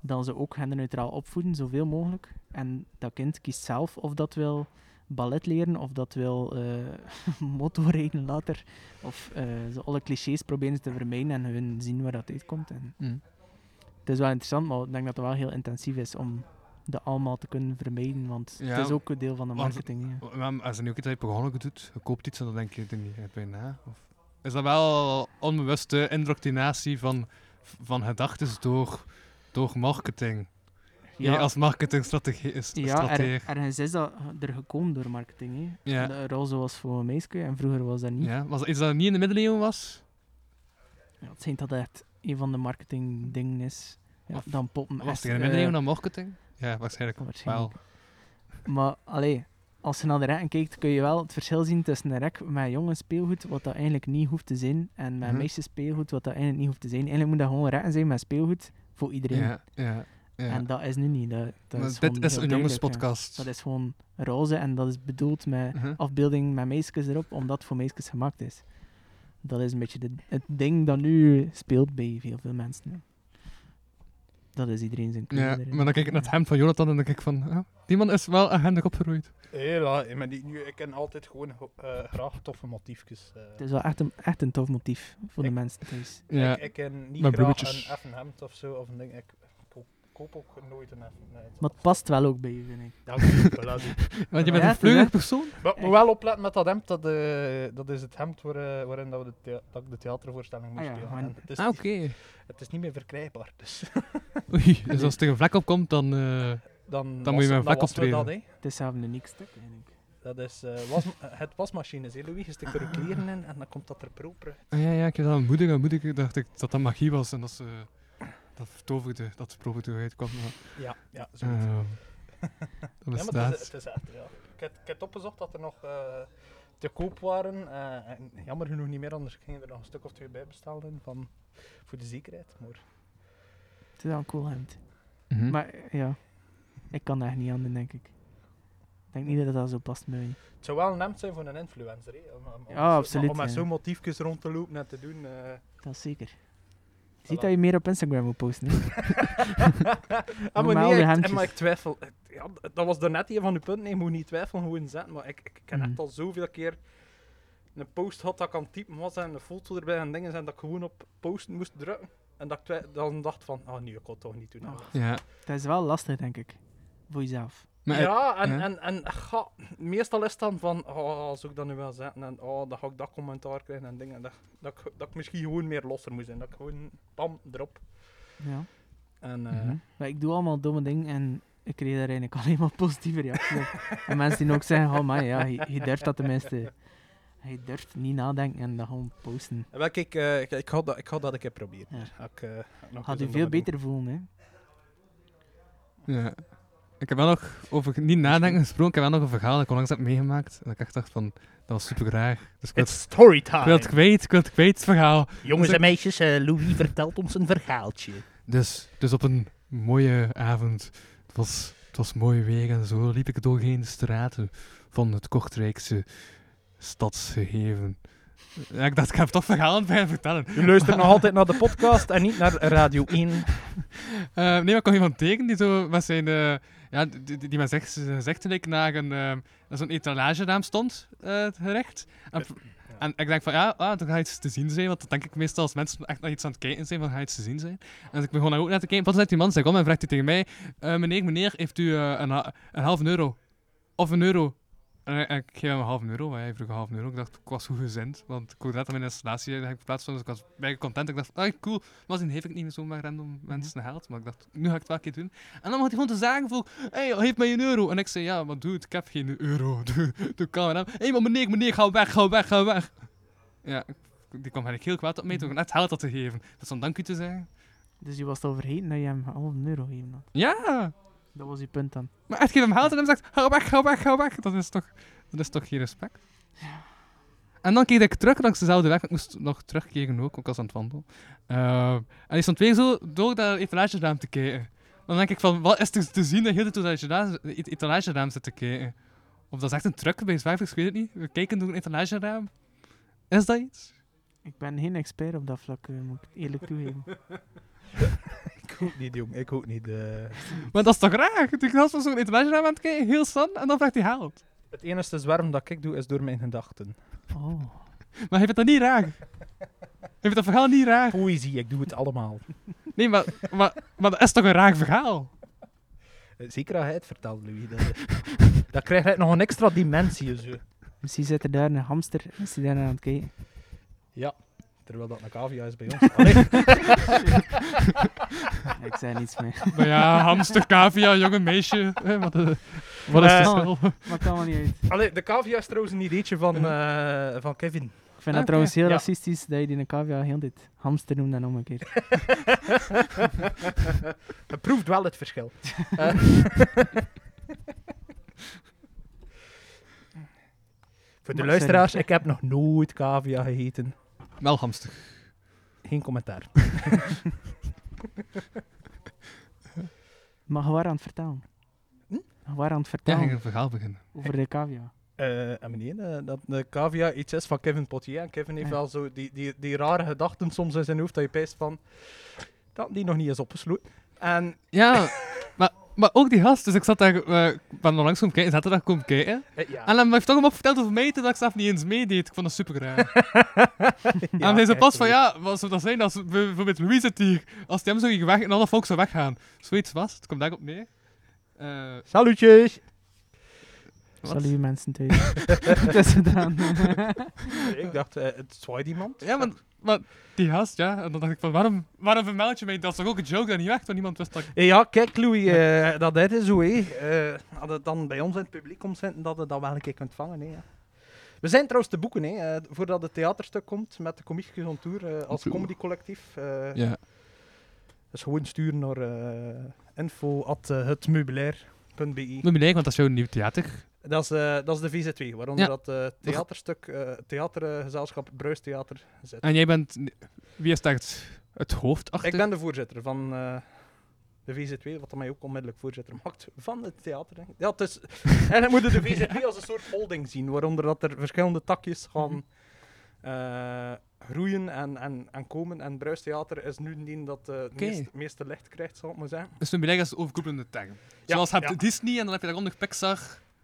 dat ze ook genderneutraal opvoeden, zoveel mogelijk. En dat kind kiest zelf of dat wil ballet leren, of dat wil eh [laughs] motorrijden later. Of eh, ze alle clichés proberen ze te vermijden en hun zien waar dat uitkomt. En Hmm. Het is wel interessant, maar ik denk dat het wel heel intensief is om dat allemaal te kunnen vermijden, want Ja, het is ook een deel van de want- marketing. ja. Maar als je nu ook iets uit je programma doet, je koopt iets en dan denk je er niet bij na. Of is dat wel onbewuste indoctrinatie van, van gedachten door, door marketing? Ja. als marketingstrategie is Ja, strateeg. er, ergens is dat er gekomen door marketing. Hè. Ja. De roze was voor een meisje en vroeger was dat niet. Ja, was, is dat niet in de middeleeuwen was? Ja, het zijn dat echt een van de marketingdingen is, ja, Of- dan poppen Was er echt... in de eh, middeleeuwen dan marketing? Ja, waarschijnlijk. waarschijnlijk. Wel. Maar allee, als je naar de rekken kijkt, kun je wel het verschil zien tussen een rek met jongen speelgoed, wat dat eigenlijk niet hoeft te zijn, en met Mhm. meisjes speelgoed, wat dat eigenlijk niet hoeft te zijn. Eigenlijk moet dat gewoon rekken zijn met speelgoed voor iedereen. Ja, ja, ja. En dat is nu niet. Dat, dat Maar is dit gewoon is heel een duidelijk, ja. jongenspodcast. Dat is gewoon roze en dat is bedoeld met Mhm. afbeelding met meisjes erop, omdat het voor meisjes gemaakt is. Dat is een beetje de, het ding dat nu speelt bij heel veel mensen. hè. Dat is iedereen zijn kleur. Ja, erin. maar dan kijk ik naar het hemd van Jonathan en dan kijk ik van, ah, die man is wel agendig opgeroeid. Hela, maar die, nu, ik ken altijd gewoon eh, graag toffe motiefjes. eh. Het is wel echt een, echt een tof motief voor de Ik- mensen thuis. Ja, Ik, ik ken niet graag Met bloemetjes. een effen hemd of zo, of een ding. Ik koop, koop ook nooit een effen hemd. Maar het past wel ook bij je, vind ik. Dank je, voilà, [laughs] zie. want je Ja, bent een het is vleugelig echt- persoon. Maar ik moet wel opletten met dat hemd, dat, eh, dat is het hemd waar, eh, waarin dat we de, thea- dat ik de theatervoorstelling moest Ah ja, spelen. gewoon- En Het is, Ah, oké. niet- het is niet meer verkrijgbaar, dus [laughs] [laughs] Oei, dus als het tegen vlek opkomt, dan... eh, dan, Dan moet je met een dan vlak wassen we dat, hè. Het is zelf een uniek stuk, eigenlijk. Dat is eh, was, [laughs] het wasmachines, hè, Louis. Je stikt er ook kleren in en dan komt dat er proper. uit. ah, ja, ja, ik heb dat aan moedig en moedig dacht ik dat dat magie was en dat ze... dat toverde, dat ze proper eruit kwam. Maar, Ja, ja, zoiets. [laughs] ehm, dat Ja, maar het is, bestaat. het is echt, ja. Ik heb, ik heb opgezocht dat er nog eh, te koop waren. eh, en jammer genoeg niet meer, anders gingen er nog een stuk of twee bij bestellen van, voor de zekerheid. Maar Het is wel een cool hemd. Mhm. Maar eh, ja, ik kan daar echt niet aan doen, denk ik. Ik denk niet dat dat zo past bij mij. het zou wel een hemd zijn voor een influencer. Hè, om, om- om Ja, zo- absoluut, Om met ja. zo'n motiefjes rond te lopen en te doen. eh. Dat is zeker. Je Voilà. ziet dat je meer op Instagram moet posten. hè. [laughs] ah, maar Normaal nee, de ik, hemdjes. eh, maar ik twijfel. Eh, Ja, d- dat was daarnet een van uw punten. Ik moet niet twijfelen gewoon zetten. Maar ik, ik, ik heb Mhm. echt al zoveel keer een post had dat ik aan het typen was en een foto erbij en dingen zijn dat ik gewoon op posten moest drukken. En dat ik twi- dan dacht van, ah nee, ik kan het toch niet doen. Oh. Ja. Dat is wel lastig, denk ik. Voor jezelf. Maar het- ja, en, ja. en, en ga, meestal is het dan van, oh, zou ik dat nu wel zetten? En oh, dan ga ik dat commentaar krijgen en dingen. Dat, dat, ik, dat ik misschien gewoon meer losser moet zijn. Dat ik gewoon, bam, erop. Ja. En eh, mhm. Maar ik doe allemaal domme dingen en ik kreeg daar eigenlijk [laughs] alleen maar positieve reacties op. en mensen die ook zeggen, oh man, ja, je, je durft dat tenminste. Je durft niet nadenken en dat gewoon posten. wel, kijk, eh, ik, ik, ga dat, ik ga dat een keer proberen. Ja. Ga Ik, eh, nog Gaat eens u een veel domme beter voelen, hè. Ja. Ik heb wel nog over niet nadenken gesproken. Ik heb wel nog een verhaal dat ik onlangs heb meegemaakt. Dat ik echt dacht van, dat was super raar. Dus Het ik wil, is het- storytime. Ah, ik wil het kwijt, ik wil het kwijt, het verhaal. Jongens Dus en meisjes, eh, Louis vertelt ons een verhaaltje. Dus, dus op een mooie avond, het was, het was mooi weer en zo, liep ik doorheen de straten van het Kortrijkse stadsgeheven. Ja, ik dacht, ik heb toch verhalen bij vertellen. doen. U luistert [laughs] nog altijd naar de podcast en niet naar Radio 1. Eh, nee, maar ik kwam iemand tegen die zo met zijn... eh, ja, die, die, die met zegt, zegt ik naar een, eh, naar zo'n etalagenaam stond eh, gerecht. En, en ik denk van, ja, ah, er gaat iets te zien zijn. Want dat denk ik meestal als mensen echt naar iets aan het kijken zijn, van gaat iets te zien zijn. En dus ik begon daar ook naar te kijken. Pas zegt die man zich om en vraagt hij tegen mij... eh, meneer, meneer, heeft u eh, een, ha- een half euro? Of een euro? En ik- ik geef hem een half euro, want hij vroeg een half euro. Ik dacht, ik was goed gezind, want ik hoorde net dat mijn installatie eigenlijk plaats was. Dus ik was bij content. Ik dacht, ah, cool. Maar dan heeft ik niet meer zomaar random mensen geld. Maar ik dacht, nu ga ik het wel een keer doen. En dan had hij gewoon te zagen voor, hey, geef mij een euro. En ik zei, ja, maar doe het, ik heb geen euro. [laughs] Doe, doe kan Hé, hey, maar meneer, meneer, ga weg, ga weg, ga weg. Ja, ik- die kwam eigenlijk heel kwaad op mij toen ik net geld had te geven. Dus dan dank u te zeggen. Dus je was het al vergeten dat je hem al een euro gegeven had. Ja, Dat was je punt dan. maar echt geef hem geld en hem zegt, ga weg, ga weg, ga weg. Dat is toch, dat is toch geen respect? En dan keek ik terug langs dezelfde weg. want Ik moest nog terugkeren ook, ook als aan het wandelen. Eh, en die stond weer zo door dat etalageraam te kijken. Dan denk ik van, wat is er te zien dat je door dat etala- et- etalageraam zit te kijken? Of dat is echt een truc bij zwervers, ik weet het niet. We kijken door een etalageraam. Is dat iets? Ik ben geen expert op dat vlak, eh, moet ik eerlijk toegeven. [laughs] Ik hoop niet, jong. Ik hoop niet. eh. Maar dat is toch raar? Ik was van zo'n etalageraam aan het kijken, heel stan, en dan vraagt hij haalt. Het enige zwerm dat ik doe is door mijn gedachten. Oh. Maar hij vindt dat niet raar. Hij vindt dat verhaal niet raar. Poëzie, ik doe het allemaal. Nee, maar, maar, maar dat is toch een raar verhaal? Eh, Zeker als hij het vertelt, Louis. Dat, dat krijgt hij nog een extra dimensie. Zo. Misschien zit er daar een hamster, is die daar aan het kijken. Ja, terwijl dat een cavia is bij ons. Allee. Ja, ik zei [laughs] niets meer. Maar ja, hamster, cavia, jonge meisje. Eh, wat, eh, wat is Eh, het verschil? Maar het kan wel niet uit. Mhm. Allee, de cavia is trouwens een ideetje van, eh, van Kevin. Ik Ah, vind dat trouwens heel ja. racistisch dat je die een cavia heel dit hamster noemt en omgekeerd. [laughs] Het proeft wel het verschil. Eh. Voor de sorry. luisteraars, ik heb nog nooit cavia gegeten. Wel hamster. Geen commentaar. Maar je was aan het vertellen. Je was aan Ja, ik het vertellen ging een verhaal beginnen. over de cavia. Eh, en meneer, eh, dat de cavia iets is van Kevin Potier. En Kevin heeft Ja. wel zo die, die, die rare gedachten soms in zijn hoofd dat je pijst van dat die nog niet is opgesloten. En Ja, maar, maar ook die gast. Dus ik zat daar, eh, ik ben onlangs komen kijken, zaterdag komen kijken. eh, ja, En hij heeft toch hem verteld over mij, dat ik zelf niet eens meedeed. Ik vond dat super [laughs] raar. en hij zei pas van, ja, wat zou dat zijn als b- bijvoorbeeld Louis zit hier. Als die hem zo ging weg en alle volk zou weggaan. Zoiets was, het komt daarop neer. Eh, Salutjes! wat? Salut mensen thuis. [laughs] Het is gedaan. ik dacht, eh, het zwaait iemand. Ja, maar, maar die gast, ja. En dan dacht ik van, waarom, waarom vermeld je mij? Dat is toch ook een joke dat niet werkt, want niemand wist dat ik... Eh, Ja, kijk Louis, eh, dat dit is zo. hè. Eh, als het dan bij ons in het publiek komt zitten, dat je dat wel een keer kunt vangen. Hè, ja. We zijn trouwens te boeken, hè, eh, voordat het theaterstuk komt met de Comiekjes on Tour eh, als Tour. comedy collectief. eh, Ja. Dus gewoon sturen naar eh info at eh, hetmeubilair.be. Moet me want dat is jouw nieuw theater. Dat is, eh, dat is de VZ2, waaronder Ja. dat eh, theaterstuk, eh, theatergezelschap Bruistheater zit. En jij bent... Wie is daar het, het hoofd achter? Ik ben de voorzitter van eh, de VZ2, wat dat mij ook onmiddellijk voorzitter maakt van het theater. Hè. Ja, het [laughs] is, en dan moeten de VZ2 als een soort holding zien, waaronder dat er verschillende takjes gaan Mhm. eh, groeien en, en, en komen. En Bruistheater is nu niet dat eh, het Oké. meest- meeste licht krijgt, zal ik maar zeggen. Dus mijn belangrijk is de overkoepelende term. Zoals je hebt ja. Disney en dan heb je daaronder Pixar,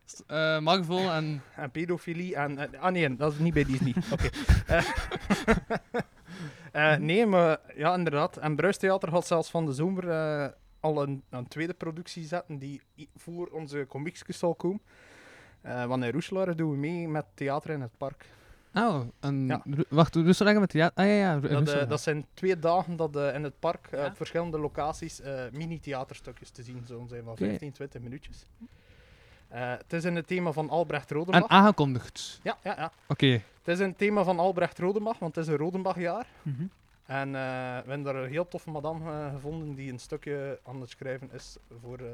s- eh, Marvel en... En pedofilie en... eh, ah nee, dat is niet bij Disney. [laughs] Oké. Eh, [laughs] eh, nee, maar ja, inderdaad. En Bruistheater gaat zelfs van de zomer eh, al een, een tweede productie zetten die i- voor onze comiekjes zal komen. Eh, want in Roeselaar doen we mee met Theater in het Park. Oh, en... Ja. Ru- Wacht, Rusland met theater... Ah ja, ja, Ru- Dat, eh, Rusland. dat zijn twee dagen dat eh, in het park eh, Ja. op verschillende locaties eh, mini-theaterstukjes te zien zullen zijn van Oké. 15, 20 minuutjes. Eh, het is in het thema van Albrecht En Rodenbach. aangekondigd. ja, ja, ja. Oké. Het is een thema van Albrecht Rodenbach, want het is een Rodenbachjaar. Mhm. En eh, we hebben daar een heel toffe madame eh, gevonden die een stukje aan het schrijven is voor eh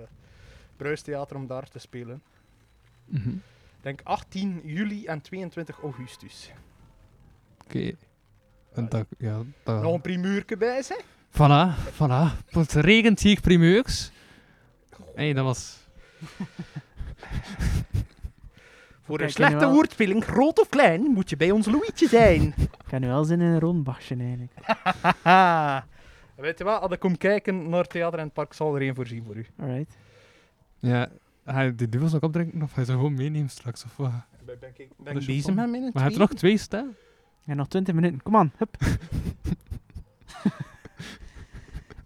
Bruistheater om daar te spelen. Mhm. Ik denk 18 juli en 22 augustus. Oké. En dat... Ja, dat... Nog een primeurke bij, zeg. Voilà, voilà. Het regent hier primeurs. Hé, dat was... Voor een Kijk, ik ben slechte wel- woordspeling, groot of klein, moet je bij ons Louietje zijn. Ik heb nu wel zin in een rondbachje eigenlijk. Ah. Haha. Weet je wat, als ik kom kijken naar Theater en het Park, zal er één voorzien voor u. Alright. Ja, ga je die dubbels nog opdrinken of ga je ze gewoon meenemen straks? Of wat? Ben, ben ik Dat is bezig wel- met mijn Maar je hebt er nog twee staan. En nog 20 minuten. Kom aan, [laughs] hup.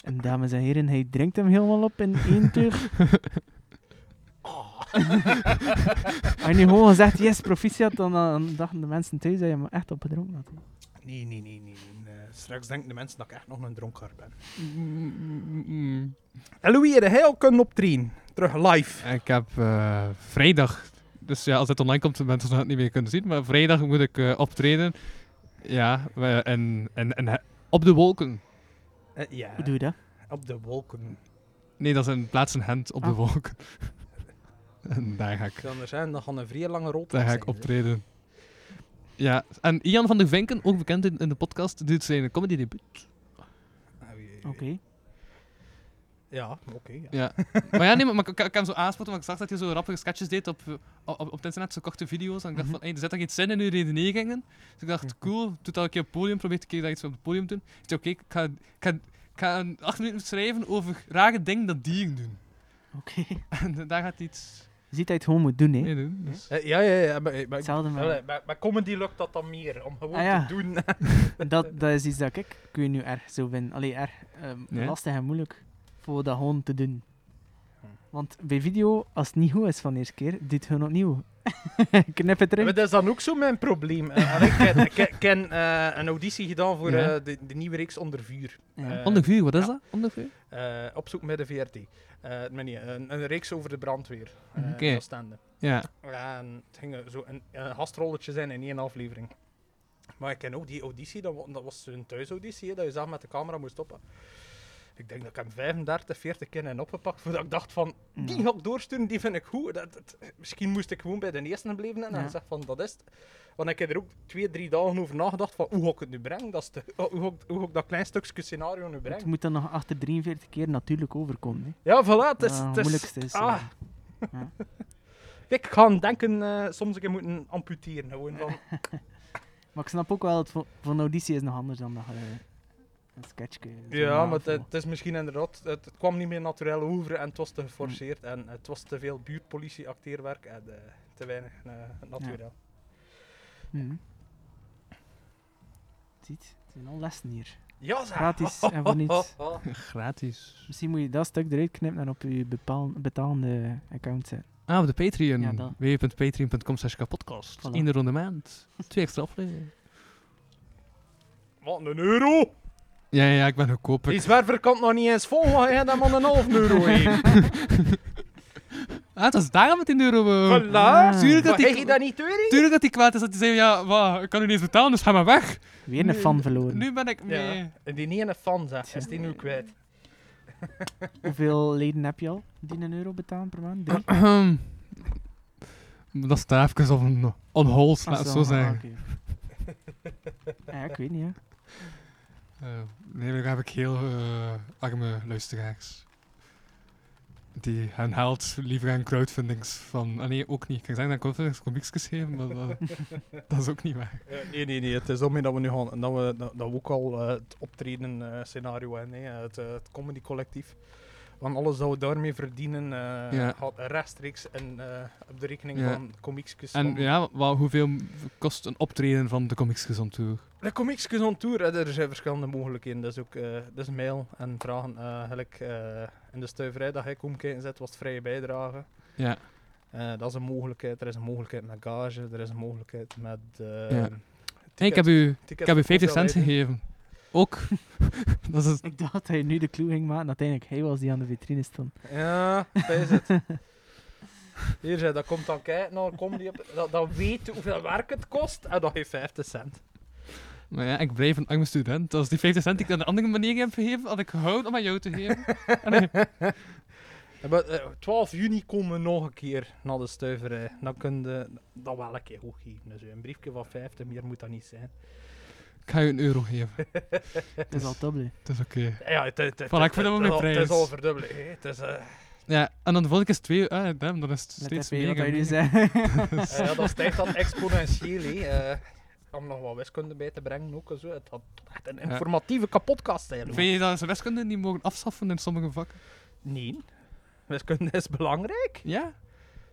en dames en heren, hij drinkt hem helemaal op in één [laughs] teug. Als je nu gewoon gezegd, yes, proficiat, dan, dan dachten de mensen thuis dat je hem echt opgedronken had. Nee, nee, nee. nee, nee. Eh, straks denken de mensen dat ik echt nog een dronkaard ben. En Louis, de heel kunnen optreden. Terug live. Ik heb eh, vrijdag, dus ja, als het online komt, mensen zullen het niet meer kunnen zien, maar vrijdag moet ik eh, optreden. Ja, we- en, en, en he- op de wolken. Eh, ja, Hoe doe je dat? op de wolken. Nee, dat is een plaats in Gent op de Ah. wolken. [laughs] en daar ga ik, Ik kan er zijn, dat gaan een vrij lange rol daar ga ik optreden. Ja, en Ian van der Venken, ook bekend in, in de podcast, doet zijn comedy debuut. Ah, Oké. Ja, oké. ja. Ja. maar ja, nee, maar, maar ik, ik heb hem zo aanspotten, want ik zag dat hij zo rappige sketches deed op, eh, op, op het internet, zo korte video's. En ik dacht van, hey, er zit toch iets zin in uw redeneringen? Dus ik dacht, cool, doe dat een keer op het podium, probeer een keer dat iets op het podium te doen. Ik zei, oké, ik ga- ik ga, ik ga een acht minuten schrijven over rare dingen dat dieren doen. [laughs] Oké. En daar gaat hij iets Je ziet dat je het gewoon moet doen, hè. mee doen. Dus. Eh, ja, ja, ja. Maar, maar, Hetzelfde, maar... Allee, maar- maar comedy lukt dat dan meer, om gewoon Ah, ja. te doen. dat, dat is iets dat ik kun je nu erg zo vind. Allee, erg ehm, Ja. lastig en moeilijk voor dat gewoon te doen. Hm. Want bij video, als het niet goed is van de eerste keer, doe het gewoon opnieuw. [laughs] Knip het Maar eruit. dat is dan ook zo mijn probleem. Eh, allee, ik heb- ik heb- ik heb eh, een auditie gedaan voor Ja. eh, de, de nieuwe reeks Onder Vuur. Ja. Eh, Onder vuur, wat is ja. dat? Onder vuur? eh, op zoek met de VRT. Eh, maar nee, een, een reeks over de brandweer. eh, Mhm. Oké. in Oostende. Ja. Ja, en het ging eh, zo een, een gastrolletje zijn in één aflevering. Maar ik ken ook die auditie, dat, wa- dat was een thuisauditie, hè, dat je zelf met de camera moest stoppen. Ik denk dat ik hem 35, 40 keer heb opgepakt voordat ik dacht van, die ga ik doorsturen, die vind ik goed. Dat, dat- misschien moest ik gewoon bij de eerste blijven en Ja. dan zeg van, dat is het. Want ik heb er ook twee, drie dagen over nagedacht van, hoe ga ik het nu brengen? Dat is de, hoe, ga ik, hoe ga ik dat klein stukje scenario nu Het brengen? moet dan nog achter 43 keer natuurlijk overkomen. Hè. Ja, voilà, het is... Ah, het is- moeilijkste is, ah. ja. Ik ga denken, eh, soms een keer moeten amputeren. Gewoon van, Maar ik snap ook wel, dat voor, voor een auditie is nog anders dan dat je een sketchje... zo Ja, na- maar het, voor- het is misschien inderdaad, het, het kwam niet meer natuurlijk over en het was te geforceerd en het was te veel buurtpolitie-acteerwerk en eh, te weinig eh natuurlijk. Mhm. Ziet, het zijn al lessen hier. Ja, Oh, zeg. Gratis en voor niets. Gratis. Misschien moet je dat stuk eruit knippen en op je bepaal- betalende account zetten. Ah, op de Patreon. Ja, dat. www.patreon.com slash kapodcast. Voilà. Eén ronde maand. Twee extra afleveringen. Wat, een euro? Ja, ja, ik ben goedkoper. Die zwerver kan het nog niet eens vol, want hij had hem al een half euro [laughs] heeft. Ah, dat is daarom het in de euro. eh. Voilà. Ah. Tuurlijk dat Maar heb die- je dat niet door? Tuurlijk dat hij kwaad is dat hij zei, ja, wa, ik kan u niet eens betalen, dus ga maar weg. Weer een Nu- fan verloren. Nu ben ik mee. [clears throat] Die niet een fan, zeg. Is die nu kwijt? Hoeveel leden heb je al die een euro betalen per maand? Drie? Ahem. Dat staat even op een on hold, [coughs] laat Ah, het zo ah, zeggen. oké. ja, ik weet niet, hè. Eh, nee, daar heb ik heel eh, arme luisteraars. Die hun haalt liever aan crowdfundings van... Ah nee, ook niet. Ik kan zeggen dat crowdfundings komiekjes geven, maar [laughs] dat, dat is ook niet waar. Eh, nee, nee, nee. Het is daarmee dat we nu gaan. Dat we, dat, dat we ook al eh, het optreden eh, scenario hebben. hè. Het, eh, het comedy collectief. Want alles dat we daarmee verdienen eh, Ja. gaat rechtstreeks en, eh, op de rekening Ja. van comiekskes. En ja, wel, hoeveel kost een optreden van de komiekjes on tour? De comiekskes on tour, eh, er zijn verschillende mogelijkheden. Dus ook eh dus mail en vragen. eh gelijk, eh, in de stuiverij dat ik kom kijken zet, was het vrije bijdrage. Ja. Eh, dat is een mogelijkheid. Er is een mogelijkheid met gage. Er is een mogelijkheid met... eh, Ja. Hey, ik ticket- heb u, ticket ik heb u voor 50 cent voorbereiding. gegeven. Ook. [laughs] dat is... Ik dacht dat hij nu de clue ging maken. Uiteindelijk, hij was die aan de vitrine stond. Ja, dat is [laughs] het. Hier, zei, dat komt dan kijken naar comedy. op- Dat, dat weet hoeveel werk het kost en dat geeft 50 cent. Maar ja, ik blijf een arme student. Als die 50 cent die ik aan de andere manier heb gegeven, had ik gehouden om aan jou te geven. En we- eh, 12 juni komen we nog een keer naar de stuiverij. Dan kun je dat wel een keer goed geven. Dus een briefje van 50, meer moet dat niet zijn. Ik ga je een euro geven. Het is al [laughs] dubbel. Het is oké. Ja, het, het, het, Voilà, ik het- verdubbel mijn het- Het is prijs. al verdubbeld. hè. Het is, [laughs] eh, Ja, en dan de volgende keer is twee... Ah, damn, dan is het Let steeds even mee wat meer. hij en nu meer. zei. [laughs] eh, ja, dat stijgt dan exponentieel. hè. Eh, om nog wat wiskunde bij te brengen ook. en Zo. Het had echt een Ja. informatieve kapotkast eigenlijk. Vind je dat ze wiskunde niet mogen afschaffen in sommige vakken? Nee. Wiskunde is belangrijk. Ja.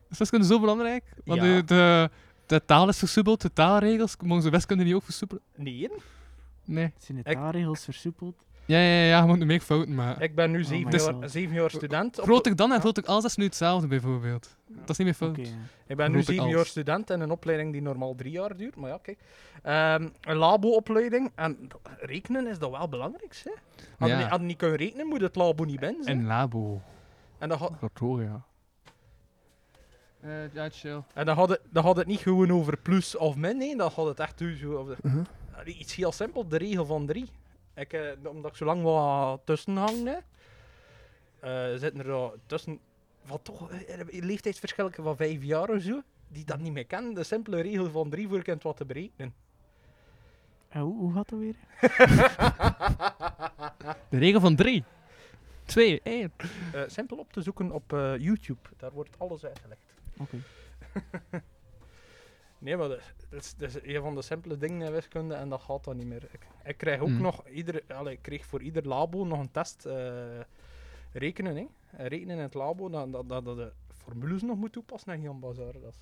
Is wiskunde zo belangrijk? Want Ja. de, de, de taal is versoepeld, de taalregels. Mogen ze wiskunde niet ook versoepelen? Nee. Nee. Zijn de taalregels versoepeld? Ja, ja, ja, ja je moet nu meer fouten maken. Ik ben nu zeven, my jaar, God. zeven jaar student. op- Groter dan en groter als, dat is nu hetzelfde bijvoorbeeld. Dat is niet meer fout. Oké, ja. ik ben nu groter zeven als. jaar student in een opleiding die normaal drie jaar duurt. Maar ja, kijk. Ehm, een labo-opleiding. En d- rekenen is dat wel belangrijk. Hè? Had, Ja. je, niet- had je niet kunnen rekenen, moet het labo niet binnen zijn. En labo. En dan, had- Dat hoor ja. Eh, ja, chill. en dan, had het, dan had het niet gewoon over plus of min. Nee, dan had het echt zo over... Mhm. Allee, Iets heel simpel, de regel van drie. Ik, eh, omdat ik zo lang wat tussen hang, hè, eh, zitten er eh, tussen wat toch eh, eh, leeftijdsverschillen van vijf jaar of zo, die dat niet meer kennen. De simpele regel van drie voor kind wat te berekenen. Ah, hoe, hoe gaat dat weer? De regel van drie. Twee, één. Eh, simpel op te zoeken op eh, YouTube, daar wordt alles uitgelegd. Oké. [laughs] Nee, maar dat dat is, dat is een van de simpele dingen in wiskunde en dat gaat dan niet meer. Ik, ik krijg ook Mm. nog, ieder, allee, ik kreeg voor ieder labo nog een test eh, rekenen. Hè. Eh, Rekenen in het labo, dat, dat, dat, dat de formules nog moet toepassen en Jan Bazaar. Dat is.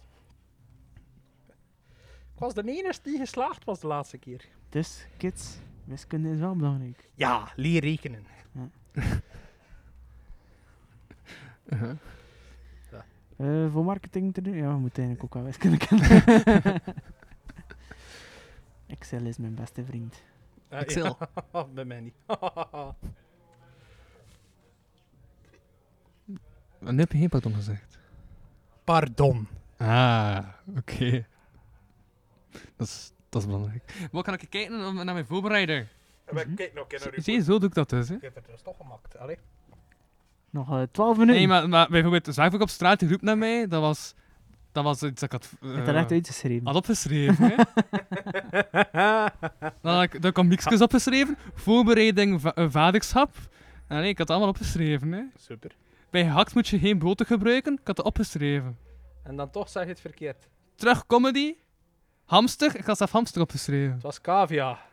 Ik was de enige die geslaagd was de laatste keer. Dus, kids, wiskunde is wel belangrijk. Ja, leer rekenen. Eh, voor marketing te doen? Ja, we moeten eigenlijk ook wel wiskunde kennen. [laughs] Excel is mijn beste vriend. Eh, Excel. [laughs] ja, bij mij niet. En nu heb je geen pardon gezegd. Pardon. Ah, oké. Dat is Dat is belangrijk. Wat kan ik kijken naar mijn voorbereider? Maar kijk nou, ken Mhm. Zie je, zo doe ik dat dus. Hè. Je hebt het dus toch gemaakt. Allee. Nog eh, 12 minuten. Nee, maar, maar bijvoorbeeld, de zaak ook op straat, die roept naar mij. Dat was, dat was iets dat ik had, Ik heb eh, dat echt uitgeschreven. had opgeschreven. Hè? [laughs] dan had ik, dan kwam niks opgeschreven. Voorbereiding, va eh, vaderschap. Ah, nee, ik had het allemaal opgeschreven. Hè? Super. Bij gehakt moet je geen boter gebruiken. Ik had dat opgeschreven. En dan toch zeg je het verkeerd. Terug comedy. Hamster. Ik had zelf hamster opgeschreven. Het was cavia.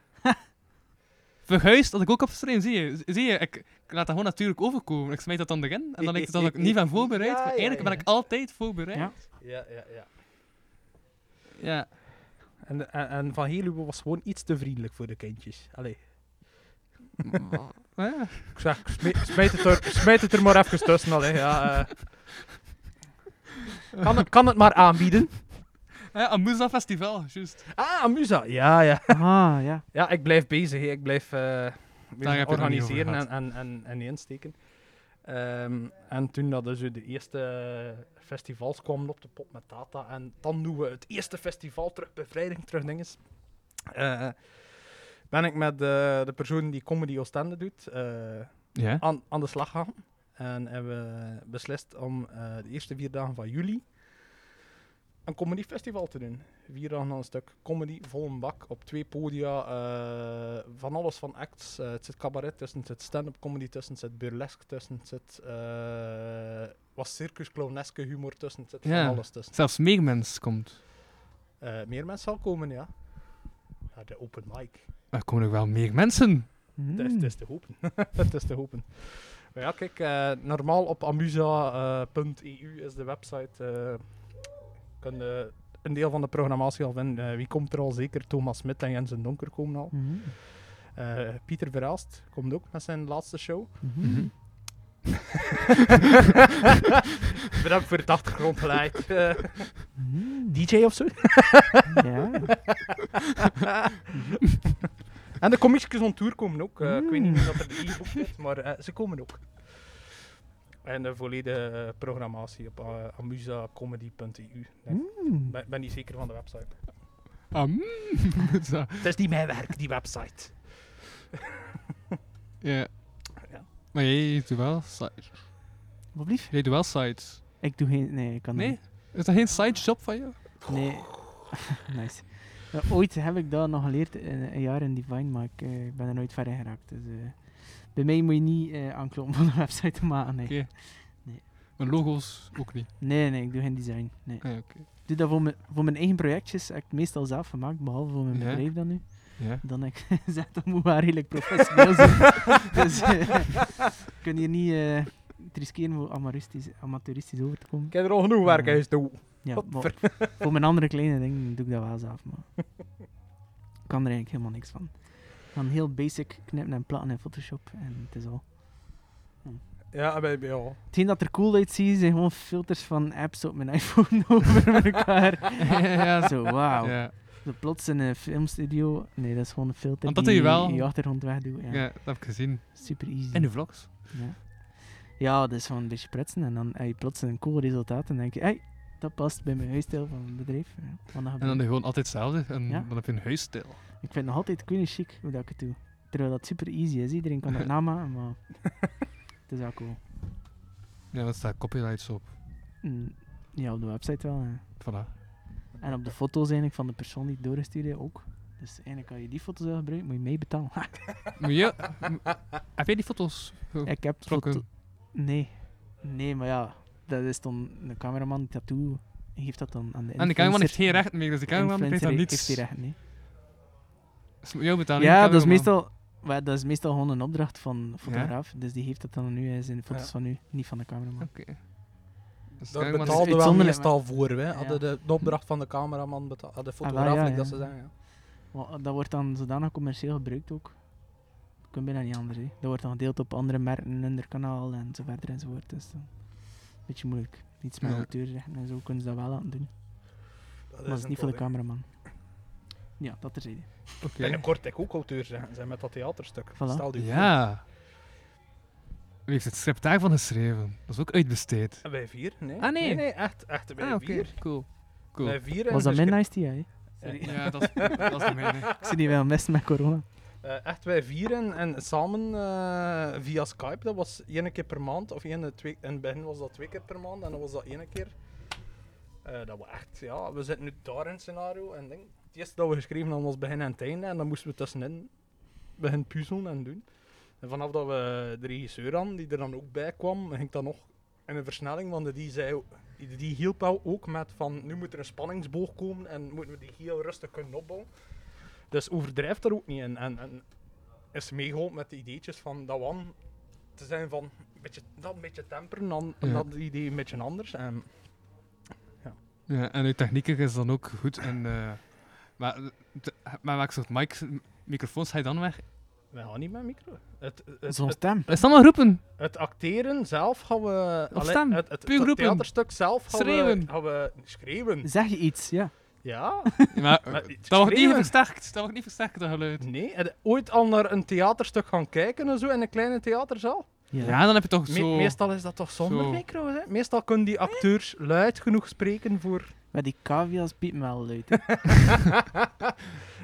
Verhuisd had ik ook opgeschreven. Zie je, zie je ik, ik laat dat gewoon natuurlijk overkomen. Ik smijt dat dan erin. En dan lijkt het dat ik niet van voorbereid. Ja, maar ja, eigenlijk ben ja. ik altijd voorbereid. Ja. Ja. Ja, ja, ja. [laughs] ja. En, en, en Van Heerluwe was gewoon iets te vriendelijk voor de kindjes. Allee. Ik zeg, ik smijt, smijt het er, smijt het er maar even tussen. Allee, ja, eh. kan, het, kan het maar aanbieden. Ja, Amusa Festival, juist. Ah, Amusa. Ja, ja. Ah, ja. Ja, ik blijf bezig. hè. Ik blijf eh, Daar heb je het nog niet organiseren over en, gehad. en, en, en insteken. Ehm, en toen dat dus de eerste festivals kwamen op de pop met Tata. En dan doen we het eerste festival terug, bevrijding terug dinges. Eh, ben ik met eh, de persoon die Comedy Oostende doet, eh, Ja. aan, aan de slag gaan. En hebben we beslist om eh, de eerste vier dagen van juli een comedyfestival te doen. Vier dagen aan een stuk comedy, vol een bak, op twee podia, eh, van alles van acts. Eh, het zit cabaret tussen, het zit stand-up comedy tussen, het zit burlesque tussen, het zit eh wat circus clowneske humor tussen, het zit Ja. van alles tussen. Zelfs Megamens komt. Eh, meer mensen zal komen, ja. Naar de open mic. Er komen nog wel meer mensen. Hmm. Het is, het is te hopen. [laughs] het is te hopen. Maar ja, kijk, eh, normaal op amusa.eu is de website. eh kun je een deel van de programmatie al vinden. Eh, wie komt er al zeker? Thomas Smit en Jens en Donker komen al. Mhm. Eh, Pieter Verhaast komt ook met zijn laatste show. [laughs] Mhm. Bedankt voor het achtergrondgeluid. Eh, DJ of zo. Ja. [laughs] en de commissies on tour komen ook. Eh, Ik weet Mm. niet of er de e-book is, maar eh, ze komen ook. En de volledige eh, programmatie op eh, amusacomedy.eu. denk E ik. Hmm. Ben, ben niet zeker van de website. Ah, mm. Zo. Het is niet mijn werk, die website. Ja. Ja. Maar jij doet wel sites. Wat blieft? Jij doet wel sites. Ik doe geen... Nee, ik kan dat Nee? Is dat geen sidejob van jou? niet. Nee. [laughs] nice. Ja, ooit heb ik dat nog geleerd, in, een jaar in Divine, maar ik eh, ben er nooit verder geraakt. Dus, eh, bij mij moet je niet eh aankloppen [laughs] van de website te maken. Nee. Oké. Nee. Maar logo's ook niet. nee, nee, ik doe geen design. Nee. Ah, ja, oké. Ik doe dat voor, mijn- voor mijn eigen projectjes. Heb ik meestal zelf gemaakt, behalve voor mijn Ja. bedrijf dan nu. Ja. Dan heb ik [laughs] gezegd, dat moet wel redelijk professioneel zijn. dus eh, ik kan hier niet eh het riskeren om amateuristisch, amateuristisch over te komen. Ik heb er al genoeg werk aan toe. Ja, Wat maar voor mijn andere kleine dingen doe ik dat wel zelf, maar ik kan er eigenlijk helemaal niks van. Van heel basic knippen en platten in Photoshop en het is al. Ja, bij bij jou. Hetgeen dat er cool uitziet zijn gewoon filters van apps op mijn [laughs] iPhone over elkaar. [laughs] ja, Zo, wauw. Ja, Zo plots in een eh, filmstudio. Nee, dat is gewoon een filter Want dat die doe je wel. je achtergrond wegdoet. Ja. ja, dat heb ik gezien. Super easy. En de vlogs. Ja. ja, dat is gewoon een beetje pretsen. En dan heb je plots een cool resultaat. En dan denk je, hey, dat past bij mijn huisstijl van mijn bedrijf. Ja, kan dat En dan gebeuren. gewoon altijd hetzelfde. En Ja. dan heb je een huisstijl. Ik vind het nog altijd queen chic hoe dat ik het doe. Terwijl dat super easy is. Iedereen kan [laughs] dat namaken, maar het is wel cool. Ja, want er staan copyrights op. Mm, Ja, op de website wel. ja. [laughs] Voilà. En op de foto's eigenlijk van de persoon die het doorstuurde ook. Dus eigenlijk kan je die foto's wel gebruiken, moet je mee betalen. Moet je... m- heb jij die foto's? Oh, ik heb trokken. foto- Nee. Nee, maar ja, dat is dan een cameraman die dat doet, geeft dat dan aan de En Ah, de cameraman heeft influencer. geen recht meer, dus de cameraman heeft Influencer daar niets. heeft- heeft die recht, nee. Dus moet jou betalen. Ja, niet de dat is, cameraman. meestal, maar dat is meestal gewoon een opdracht van een fotograaf. Dus die heeft dat dan nu eens in de foto's Ja. van u, niet van de cameraman. Oké. Dus de Daar cameraman- betaalt- betaalden we uitzonderlijk, meestal voor. Hè. Ja. Hadden de, de opdracht van de cameraman betaald. Hadden de Ah, wel, fotograaf, ja, like ja. dat ze zeggen. Ja. Want dat wordt dan zodanig commercieel gebruikt ook. Ik kan bijna niet anders. Hè. Dat wordt dan gedeeld op andere merken, hun kanaal en zo verder enzovoort. Dus dan een beetje moeilijk. Iets met Ja. auteursrechten en zo kunnen ze dat wel laten doen. maar dat is niet voor de cameraman. Ja, dat terzijde. Oké. Binnenkort ik ook auteur zijn, zijn met dat theaterstuk. Voilà. Stel u voor. Ja. Wie heeft het script daarvan geschreven? Dat is ook uitbesteed. En Wij vier? Nee. Ah, nee. nee, echt, echt wij Ah, oké. vier. Cool. Cool. Wij vier en Was dat dus- mijn nice die jij? Ja, Sorry. Ja, dat is, dat is de mijne. [laughs] Ik zie die wel mis met corona. Eh, echt wij vieren en samen eh, via Skype. Dat was één keer per maand. Of één, twee, in het begin was dat twee keer per maand. En dan was dat één keer. Eh, dat we echt, ja, we zitten nu daar in het scenario. En ding. Het eerste dat we geschreven hadden was begin en het einde. En dan moesten we tussenin beginnen puzzelen en doen. En vanaf dat we de regisseur hadden, die er dan ook bij kwam, ging dat nog in een versnelling. Want die, zei, die, die hielp wel ook met van, nu moet er een spanningsboog komen. En moeten we die heel rustig kunnen opbouwen. Dus overdrijft daar ook niet in. En, en is meegeholpen met de ideetjes van dat wan te zijn van een beetje, dat een beetje temperen, dan Ja. dat idee een beetje anders. En Ja, en uw technieker is dan ook goed. En, eh, maar, de- maar welk soort mics, microfoons ga je dan weg? we gaan niet met micro. Het, het, Zo'n het, stem. Is dat maar roepen? het acteren zelf gaan we. Of allee, stem, het, het, puur het roepen. theaterstuk zelf gaan Schreeuwen. We, gaan we schreeuwen. Zeg je iets, ja. Ja, Maar, maar dat wordt niet schreeuwen. versterkt. Dat wordt niet versterkt, dat geluid. Nee, heb je ooit al naar een theaterstuk gaan kijken en zo in een kleine theaterzaal? Ja, dan heb je toch Me- zo... meestal is dat toch zonder zo. micro's, hè? Meestal kunnen die acteurs luid genoeg spreken voor Maar die cavia's piepen wel luid. [laughs] hè.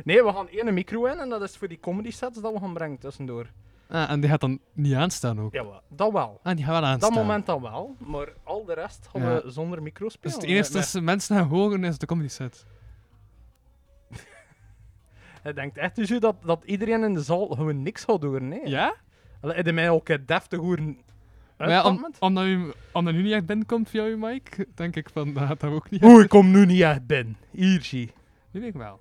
nee, we gaan één micro in en dat is voor die comedy sets dat we gaan brengen tussendoor. Ah, en die gaat dan niet aanstaan ook. Ja, wel, dat wel. Ah, die gaat wel aanstaan. Dat moment dan wel, maar al de rest gaan Ja. we zonder micro Dus spelen. het enige dat ze mensen gaan horen is de comedy set. Hij denkt echt dus dat, dat iedereen in de zaal gewoon niks gaat doen, nee. Ja? Allee, heb je mij ook eh, deftig horen Maar ja, om- uitkomen? omdat, u, omdat u niet echt binnenkomt via uw mic, denk ik van, dat gaat dat ook niet Oeh, ik kom nu niet echt binnen. Hier, zie. Nu weet ik wel.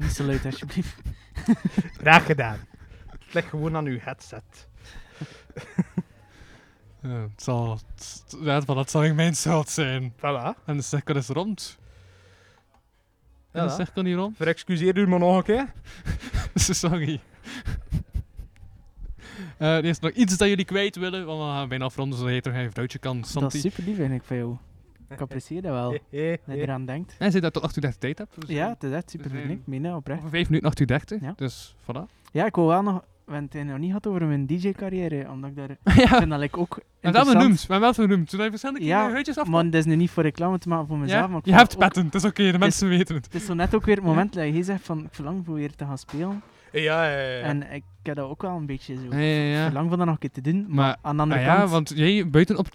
Niet zo luid, alsjeblieft. Graag gedaan. Het ligt gewoon aan uw headset. Ja, het zal, het- het- ja, maar dat zal niet mijn schuld zijn. Voilà. En de cirkel is rond. En de Voilà. cirkel niet rond. [laughs] Verexcuseer u me nog een keer. Sorry. Eh, er is nog iets dat jullie kwijt willen, want dan gaan we bijna afronden zodat je terug aan je vrouwtje kan. Dat is Santi. super lief eigenlijk van jou. Ik apprecieer dat [laughs] wel. Hé, Dat je eraan denkt. En zit dat tot 8 uur 30 tijd hebt. Dus Ja, het is echt super We zijn- lief. Mina, oprecht. Over 5 minuten 8 uur 30. Ja. Dus voilà. [laughs] Ja, ik wil wel nog... We hebben het eigenlijk nog niet gehad over mijn DJ-carrière, omdat ik daar... Ik ja, vind dat [laughs] like, ook we hebben wel interessant. benoemd. We hebben wel benoemd. Toen heb je verschillende Ja, keer je huidjes af. Maar dat is nu niet voor reclame te maken voor mezelf. ja? Maar ik Je vond hebt ook- petten, het is oké, de mensen weten het. Het is zo net ook weer het moment dat je zegt van ik verlang voor weer te gaan spelen. Ja, ja, ja. En ik heb dat ook wel een beetje zo. Ja, ja, ja. Verlang van dat nog een keer te doen. Maar, Maar aan de andere ah ja, kant... want jij buiten op.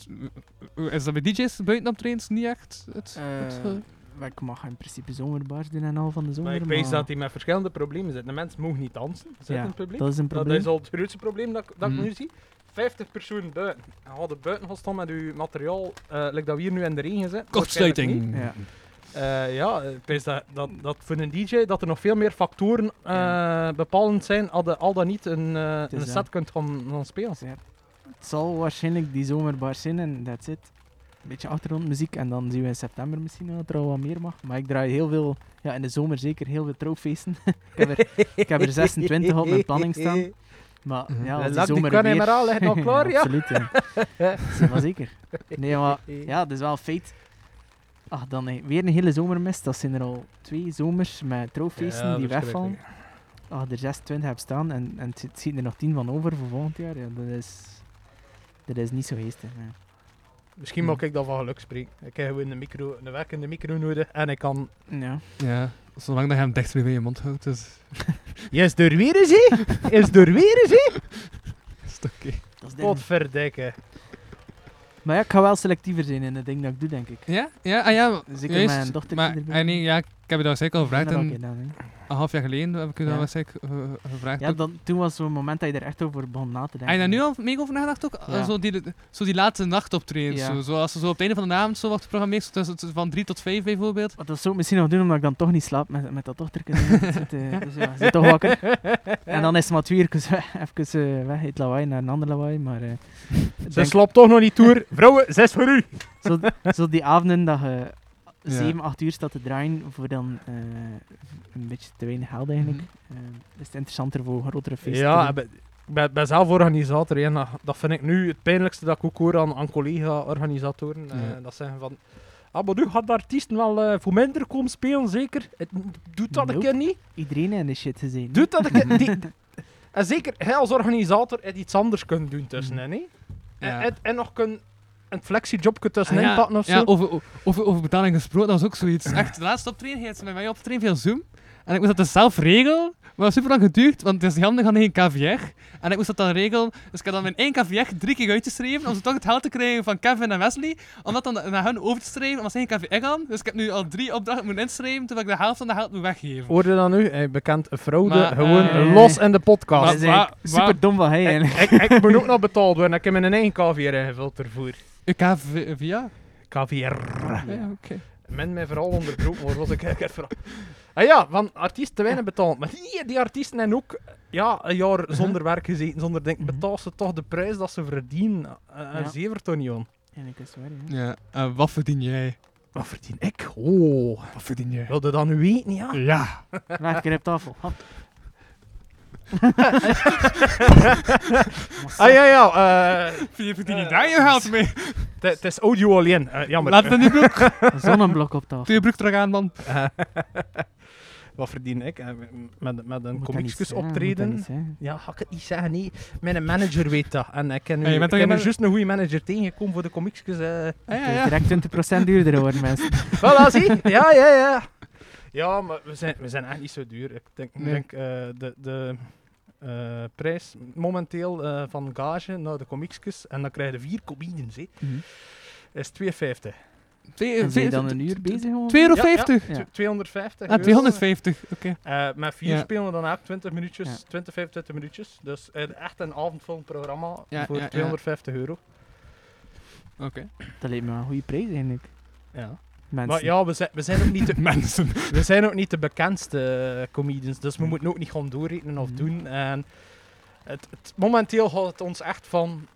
eh, Is dat bij DJ's buiten op trains niet echt? Het, eh, het, eh, maar ik mag in principe zomerbaars doen en al van de zomer. Maar ik weet dus dat die met verschillende problemen zitten. De mensen mogen niet dansen, zitten Ja, in het publiek. dat is een Dat, probleem. is al het grootste probleem dat, ik- dat Mm. ik nu zie. 50 personen buiten. En hadden buiten gestaan met uw materiaal, eh like dat we hier nu in de regen zitten. waarschijnlijk Kortsluiting. Ja. niet. Eh, ja, eh, ik weet dat, dat, dat voor een DJ dat er nog veel meer factoren eh, bepalend zijn, hadden al dan niet een, eh, is een dat. set kunt gaan, gaan spelen. Het zal waarschijnlijk die zomerbaars zijn en that's it. Een beetje achtergrondmuziek en dan zien we in september misschien wel dat er al wat meer mag. Maar ik draai heel veel, ja in de zomer zeker, heel veel trouwfeesten. [laughs] ik, heb er, ik heb er 26 op mijn planning [laughs] staan. Maar Mhm. ja, Eh, als die laat die zomer kan weer... in mijn raal, ligt [laughs] nog klaar, ja? Absoluut, [laughs] ja. Zeg maar zeker. Nee, maar Ah, ja, dat is wel een feit. Ach, dan eh, weer een hele zomermist. Dat zijn er al twee zomers met trouwfeesten Ja, die verschrikkelijk. wegvallen. Ach, er 26 heb staan en, en het zi- het zitten er nog 10 van over voor volgend jaar. Ja, dat is... Dat is niet zo geestig. nee. Misschien mag ik dat van geluk spreken. Ik heb gewoon een, micro, een werk in de micro nodig en ik kan... Ja. Ja, zolang dat je hem dicht bij je mond houdt, dus- is, Yes, door weer eens, hè? Is door weer eens, hè? is het oké. Dat is ding. Godverdikke. Maar ja, ik ga wel selectiever zijn in het ding dat ik doe, denk ik. Ja? Ja, ah ja. Zeker juist, mijn dochter Maar, erbij. ah, nee, ja, ik heb je dat zeker al Ik gevraagd. ben er ook En gedaan, hè. [laughs] een half jaar geleden heb ik je Ja. dat zeker eh, gevraagd. Ja, dan, toen was zo'n moment dat je er echt over begon na te denken. Heb je daar nu al mee over nagedacht ook? Eh, Ja. Zo, die, zo die late nacht optreden. Ja. Zo, zo als ze zo op het einde van de avond zo wordt geprogrammeerd, zo tussen- tussen van 3 tot 5 bijvoorbeeld. Want dat zou ik misschien nog doen, omdat ik dan toch niet slaap met, met dat dochterke. [laughs] Dat zit, eh, dus ja, zit toch wakker. [laughs] En dan is het maar twee uur [laughs] even eh, weg, het lawaai naar een ander lawaai. Maar eh, ik Ze denk, slaapt toch nog niet toer. Vrouwen, zes voor u. zo, zo die avonden dat je Ja. 7, 8 uur staat te draaien voor dan eh, een beetje te weinig geld eigenlijk. eh, is het interessanter voor een grotere feesten. Ja, ik ben- ik ben, ben zelf organisator. hè, en dat, dat vind ik nu het pijnlijkste dat ik ook hoor aan, aan collega-organisatoren. eh, Ja. dat zeggen van... Ah, maar nu gaat de artiest wel eh, voor minder komen spelen, zeker. Het- doet dat een Nope. keer niet. Iedereen in de shit gezien. Doet dat een keer [laughs] niet. En zeker, hij als organisator had iets anders kunnen doen tussenin. hè. En, Ja. en, en nog kunnen een flexijobje tussenin Ah, ja. pakken of zo. Ja, over, o- over, over betaling gesproken, dat was ook [clears throat] zoiets. Echt, de laatste optreden ging het met mij optreden via Zoom. En ik moest dat dus zelf regelen. Maar dat super lang geduurd, want het is handig aan één KVR. En ik moest dat dan regelen. Dus ik had dan mijn één KVR drie keer uitgeschreven om ze toch het geld te krijgen van Kevin en Wesley. Om dat dan naar hun over te schrijven, omdat ze geen KVR aan. Dus ik heb nu al drie opdrachten moeten inschrijven, terwijl ik de helft van de geld moet weggeven. Hoorde dan nu, eh, bekend fraude, Maar, gewoon eh, los in de maar- podcast. Dat is eigenlijk waar- super dom van hij Eh, eigenlijk. ik, ik moet ook nog betaald worden, ik heb mijn eigen KVR ingevuld ervoor. Uw KVR? Ja, KVR. oké. Men mij vooral onderbroken wordt, was ik eigenlijk vooral... Ah ja, van artiesten weinig betaald. Maar die, die artiesten hebben ook ja, een jaar zonder werk gezeten, zonder denk Mhm. betaal ze toch de prijs dat ze verdienen. Eh, Een Ja. zever toch niet aan. Eigenlijk is het waar, ja. Ja, en wat verdien jij? Wat verdien ik? Oh, Wat verdien jij? wilde dat nu weten, ja? Ja. Laat ik er op tafel. Hop. Ah ja, ja, eh, Wie verdien je Eh, daar je geld [laughs] mee? het- het is audio alleen, eh, jammer. Laat me die broek, Zonneblok op tafel. doe je broek terug aan, man. Wat verdien ik? Eh, Met, met een Moet dat niet comicskus zijn, moet dat optreden? niet zijn. Ja, ga ik het niet zeggen, nee. Mijn manager weet dat. En ik ken nu, Ja, je ik bent toch ben je nu man- juist een goede manager tegengekomen voor de comicskus. eh. Ah, ja, Het ja. is Direct 20% duurder worden, mensen. Voilà, zie. Ja, ja, ja. Ja, maar we zijn, we zijn echt niet zo duur. Ik denk, ik Nee. denk eh, de, de eh, prijs momenteel eh, van gage naar de comicskus, en dan krijg je vier comedians, hè, Mhm. is 2,50. Twee- En ben je twee- dan een uur bezig? gewoon? 2,50 euro? Ja, ja. Ja. Tw- 250. Ah, euro. 250. Oké. dus. Eh, met vier Ja. spelen we dan ook 20 minuutjes, Ja. 20, 25 minuutjes. Dus eh, echt een avondfilmprogramma Ja, voor ja, ja. 250 euro. Dat lijkt me wel een goede prijs eigenlijk. Ja. Mensen. Maar ja, we zijn, we zijn ook niet de [laughs] Mensen. We zijn ook niet de bekendste eh, comedians, dus we Hmm. moeten ook niet gaan doorrekenen of Hmm. doen. En het, het, momenteel gaat het ons echt van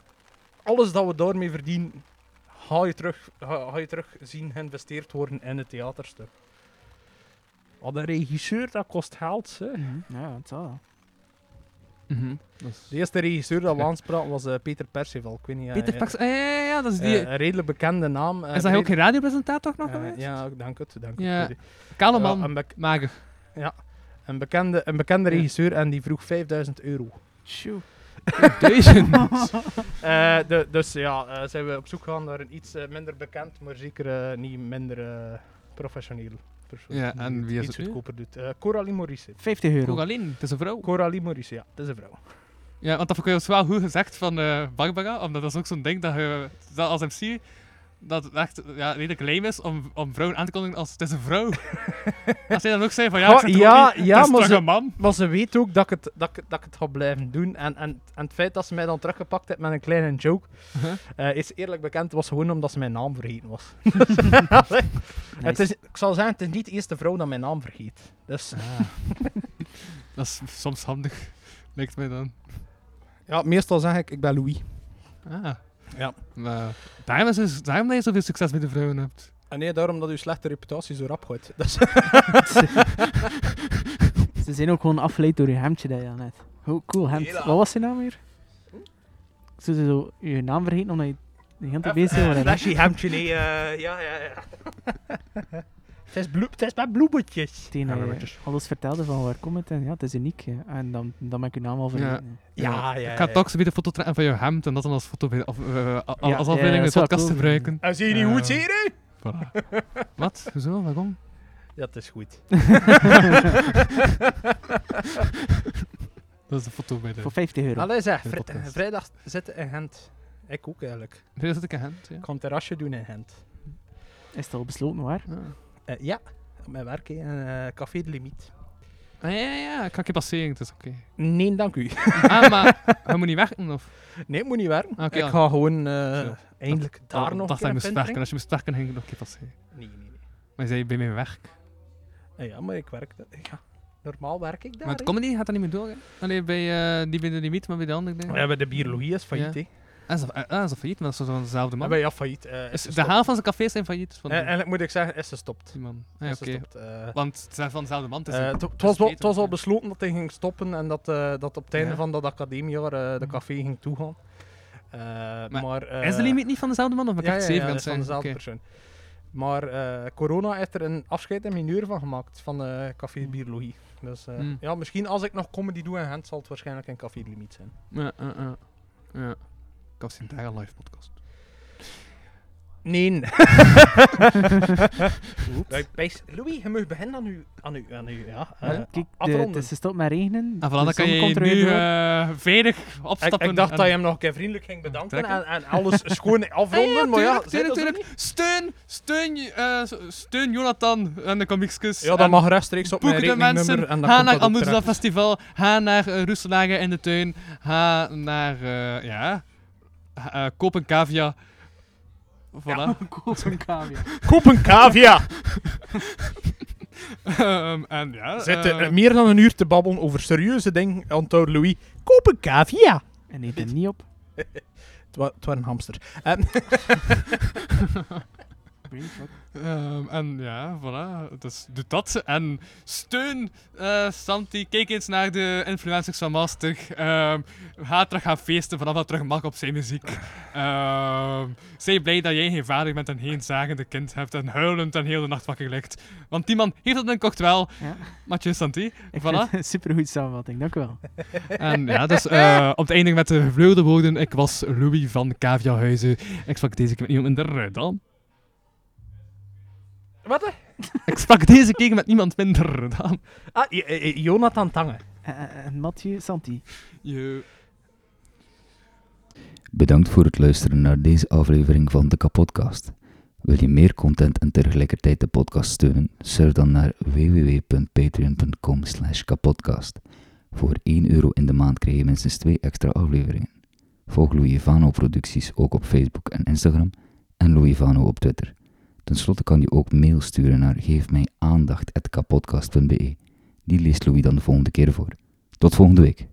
alles dat we daarmee verdienen, ga je terug, ga, ga je terug zien geïnvesteerd worden in het theaterstuk. Wat een Oh, regisseur, dat kost geld. Hè. Mhm. Ja, het zal wel. Mhm. De eerste regisseur dat we aanspraken was eh, Peter Perceval. Ik weet niet, eh, Peter eh, Pax. Ah, ja, ja, ja, dat is eh, die. een redelijk bekende naam. eh, is dat hij ook redelijk- geen radiopresentator nog eh, geweest? Ja, dank het. Dank Ja. het. Kale Ja, man, een, bek- mager. een bekende, een bekende Ja. regisseur en die vroeg 5000 euro. Tjoe. [laughs] Duizend. Eh, de- dus ja, eh, zijn we op zoek gegaan naar een iets eh, minder bekend, maar zeker eh, niet minder eh, professioneel persoon. Ja, Die en wie is iets het nu? goedkoper doet. Eh, Coralie Morrisse. 50 euro. Coraline, het is een vrouw. Coralie Morrisse, ja, dat is een vrouw. Ja, want dat vond ik dus wel goed gezegd van eh, Barbara, omdat dat is ook zo'n ding dat je dat als MC dat het echt ja, redelijk lame is om, om vrouwen aan te kondigen als het is een vrouw. als jij dan ook zei van ja, Oh, ik zit er ja, ook niet, ja, het is maar toch ze- een man. Maar ze weet ook dat ik het, dat ik, het- dat ik het ga blijven doen. En, en, en het feit dat ze mij dan teruggepakt heeft met een kleine joke, Uh-huh. eh, is eerlijk bekend, was gewoon omdat ze mijn naam vergeten was. Nice. het is, ik zal zeggen, het is niet de eerste vrouw dat mijn naam vergeet. Dus Dat is soms handig, lijkt mij dan. ja, meestal zeg ik, ik ben Louis. Ah. Ja. Maar daarom, is dus, daarom dat je zoveel succes met de vrouwen hebt. En Ah, nee, daarom dat uw slechte reputatie zo rap gaat. [laughs] Dat is- [laughs] Ze zijn ook gewoon afgeleid door je hemdje dat je aan hebt. Hoe cool hemd. Hela. Wat was je naam weer? Ik zou ze zo je naam vergeten omdat je de hele tijd Even, bezig eh, bent. hè? flashy hemdje, nee. eh, ja, ja, ja. [laughs] het, is bloe- het is met bloemetjes. Meteen, eh, alles vertelde van waar komt het en ja, het is uniek. hè. En dan, dan ben ik je naam al vergeten. hè. Ja, ja, Ik ga toch zo weer de foto trekken van je hemd en dat dan als foto bij de af, eh, a- Ja, als ja, afbeelding in dat de is wel podcast cool. gebruiken. En zie je niet hoe het Eh. hier hè? Voilà. Wat? Hoezo? Waarom? Dat is goed. Dat is de foto bij de... Voor 50 euro. Allee zeg, De vri- podcast. eh, vrijdag zitten in Gent. Ik ook eigenlijk. Nee, dat ik een hemd, ja. Ik ga een terrasje doen in Gent. Is het al besloten waar? Ah. Eh, ja, op mijn werk in Café de Limiet. Ah, ja, ja, ja. Ik ga je passeren, het is [laughs] oké. Nee, dank u. ah, maar hij moet niet werken, of? Nee, het moet niet werken. Ah, oké, ik ja. ga gewoon eh, Zo. eindelijk daar Ik nog dacht een keer hij moest een dus werken. pint Als je moest werken, ging ik nog een keer passeren. drinken. Nee, nee, nee. Maar je zei, bij mijn werk. Eh, ja, maar ik werk... da- Ja. Normaal werk ik daar. maar het hè. comedy gaat dat niet meer door, hè? Allee, bij eh, die bij de limiet, maar bij de andere dingen. We hebben de bierlogie is failliet, Ja. hè. Ah, is dat- ah, dat is dat failliet, maar dat is zo'n dezelfde man. Maar ja, failliet. eh, is Dus ze de helft van zijn cafés zijn failliet. dus Van En die- eigenlijk moet ik zeggen, is ze stopt. die man. Ah, Is ja, ze oké. stopt, eh. Want het zijn van dezelfde man. Eh, Het is een- het- is Het was wel- het beter, was al ja. besloten dat hij ging stoppen en dat, eh, dat op het einde Ja. Mm. van dat academiejaar eh, de café ging toegaan. Eh, maar, eh, is de limiet niet van dezelfde man? Of ja, ik ja, heb het ja, zeven dat kan is van zijn? dezelfde Oké. persoon. Maar eh, corona heeft er een afscheid en mineur van gemaakt van eh Mm. Café Bierlogie. Dus eh, Hmm. ja, misschien als ik nog comedy doe in Gent, zal het waarschijnlijk een eh, Café de Limiet zijn. Ja, ja, ja. Ja. Ik was in daar een live podcast. Nee. [laughs] Wij pijs- Louis, je mag beginnen aan u. Aan u, aan u ja. eh, Ja, Kijk, de, afronden. het is gestopt met regenen. En Ah, voilà, de dan kan zon je komt er nu weer door. eh veilig ik, opstappen. ik dacht en- dat je hem nog een keer vriendelijk ging bedanken Trekken. en, en [laughs] alles schoon afronden, Ah, Ja, ja, maar ja, tuurlijk, zit tuurlijk, dat zo tuurlijk. Steun, steun, je- eh, s- steun Jonathan en de comicskus. niet? Ja, dat En mag rechtstreeks op mijn Boek de rekeningnummer mensen, en dan ga komt naar dat ook Amundsen terecht. Festival, ga naar uh, Roeselagen in de tuin, ga naar, eh, ja, eh, koop een cavia. Voilà. Koop een kabel. Koop een cavia! [laughs] Ehm, en ja, Zit eh, meer dan een uur te babbelen over serieuze dingen, onthoud Louis. Koop een cavia! En neemt hem niet op. Het wa- het was een hamster. Brainfuck. Ehm, en ja, voilà. Dus doe dat. En steun eh, Santi. Kijk eens naar de influencers van Maastricht. Ehm, ga terug gaan feesten vanaf dat terug mag op zijn muziek. Ehm zij blij dat jij geen vader bent en geen zagende kind hebt en huilend en heel de nacht wakker ligt. Want die man heeft het dan kocht wel. Ja. Mathieu Santi. Ik Voilà. vind het een supergoed samenvatting, dank u wel. En ja, dus eh, om te eindigen met de gevleugelde woorden. Ik was Louis van Caviahuizen. Ik sprak deze keer met niemand minder eh, dan... Wat? hè? Ik sprak deze keer met niemand minder dan... Ah, J- eh, Jonathan Tange. En- en- En Eh, Mathieu Santi. Je... Bedankt voor het luisteren naar deze aflevering van de Kapodcast. Wil je meer content en tegelijkertijd de podcast steunen? Surf dan naar www.patreon.com slash kapodcast. Voor 1 euro in de maand krijg je minstens 2 extra afleveringen. Volg Louis Vano producties ook op Facebook en Instagram en Louis Vano op Twitter. Ten slotte kan je ook mail sturen naar geefmijaandacht.kapodcast.be. Die leest Louis dan de volgende keer voor. Tot volgende week.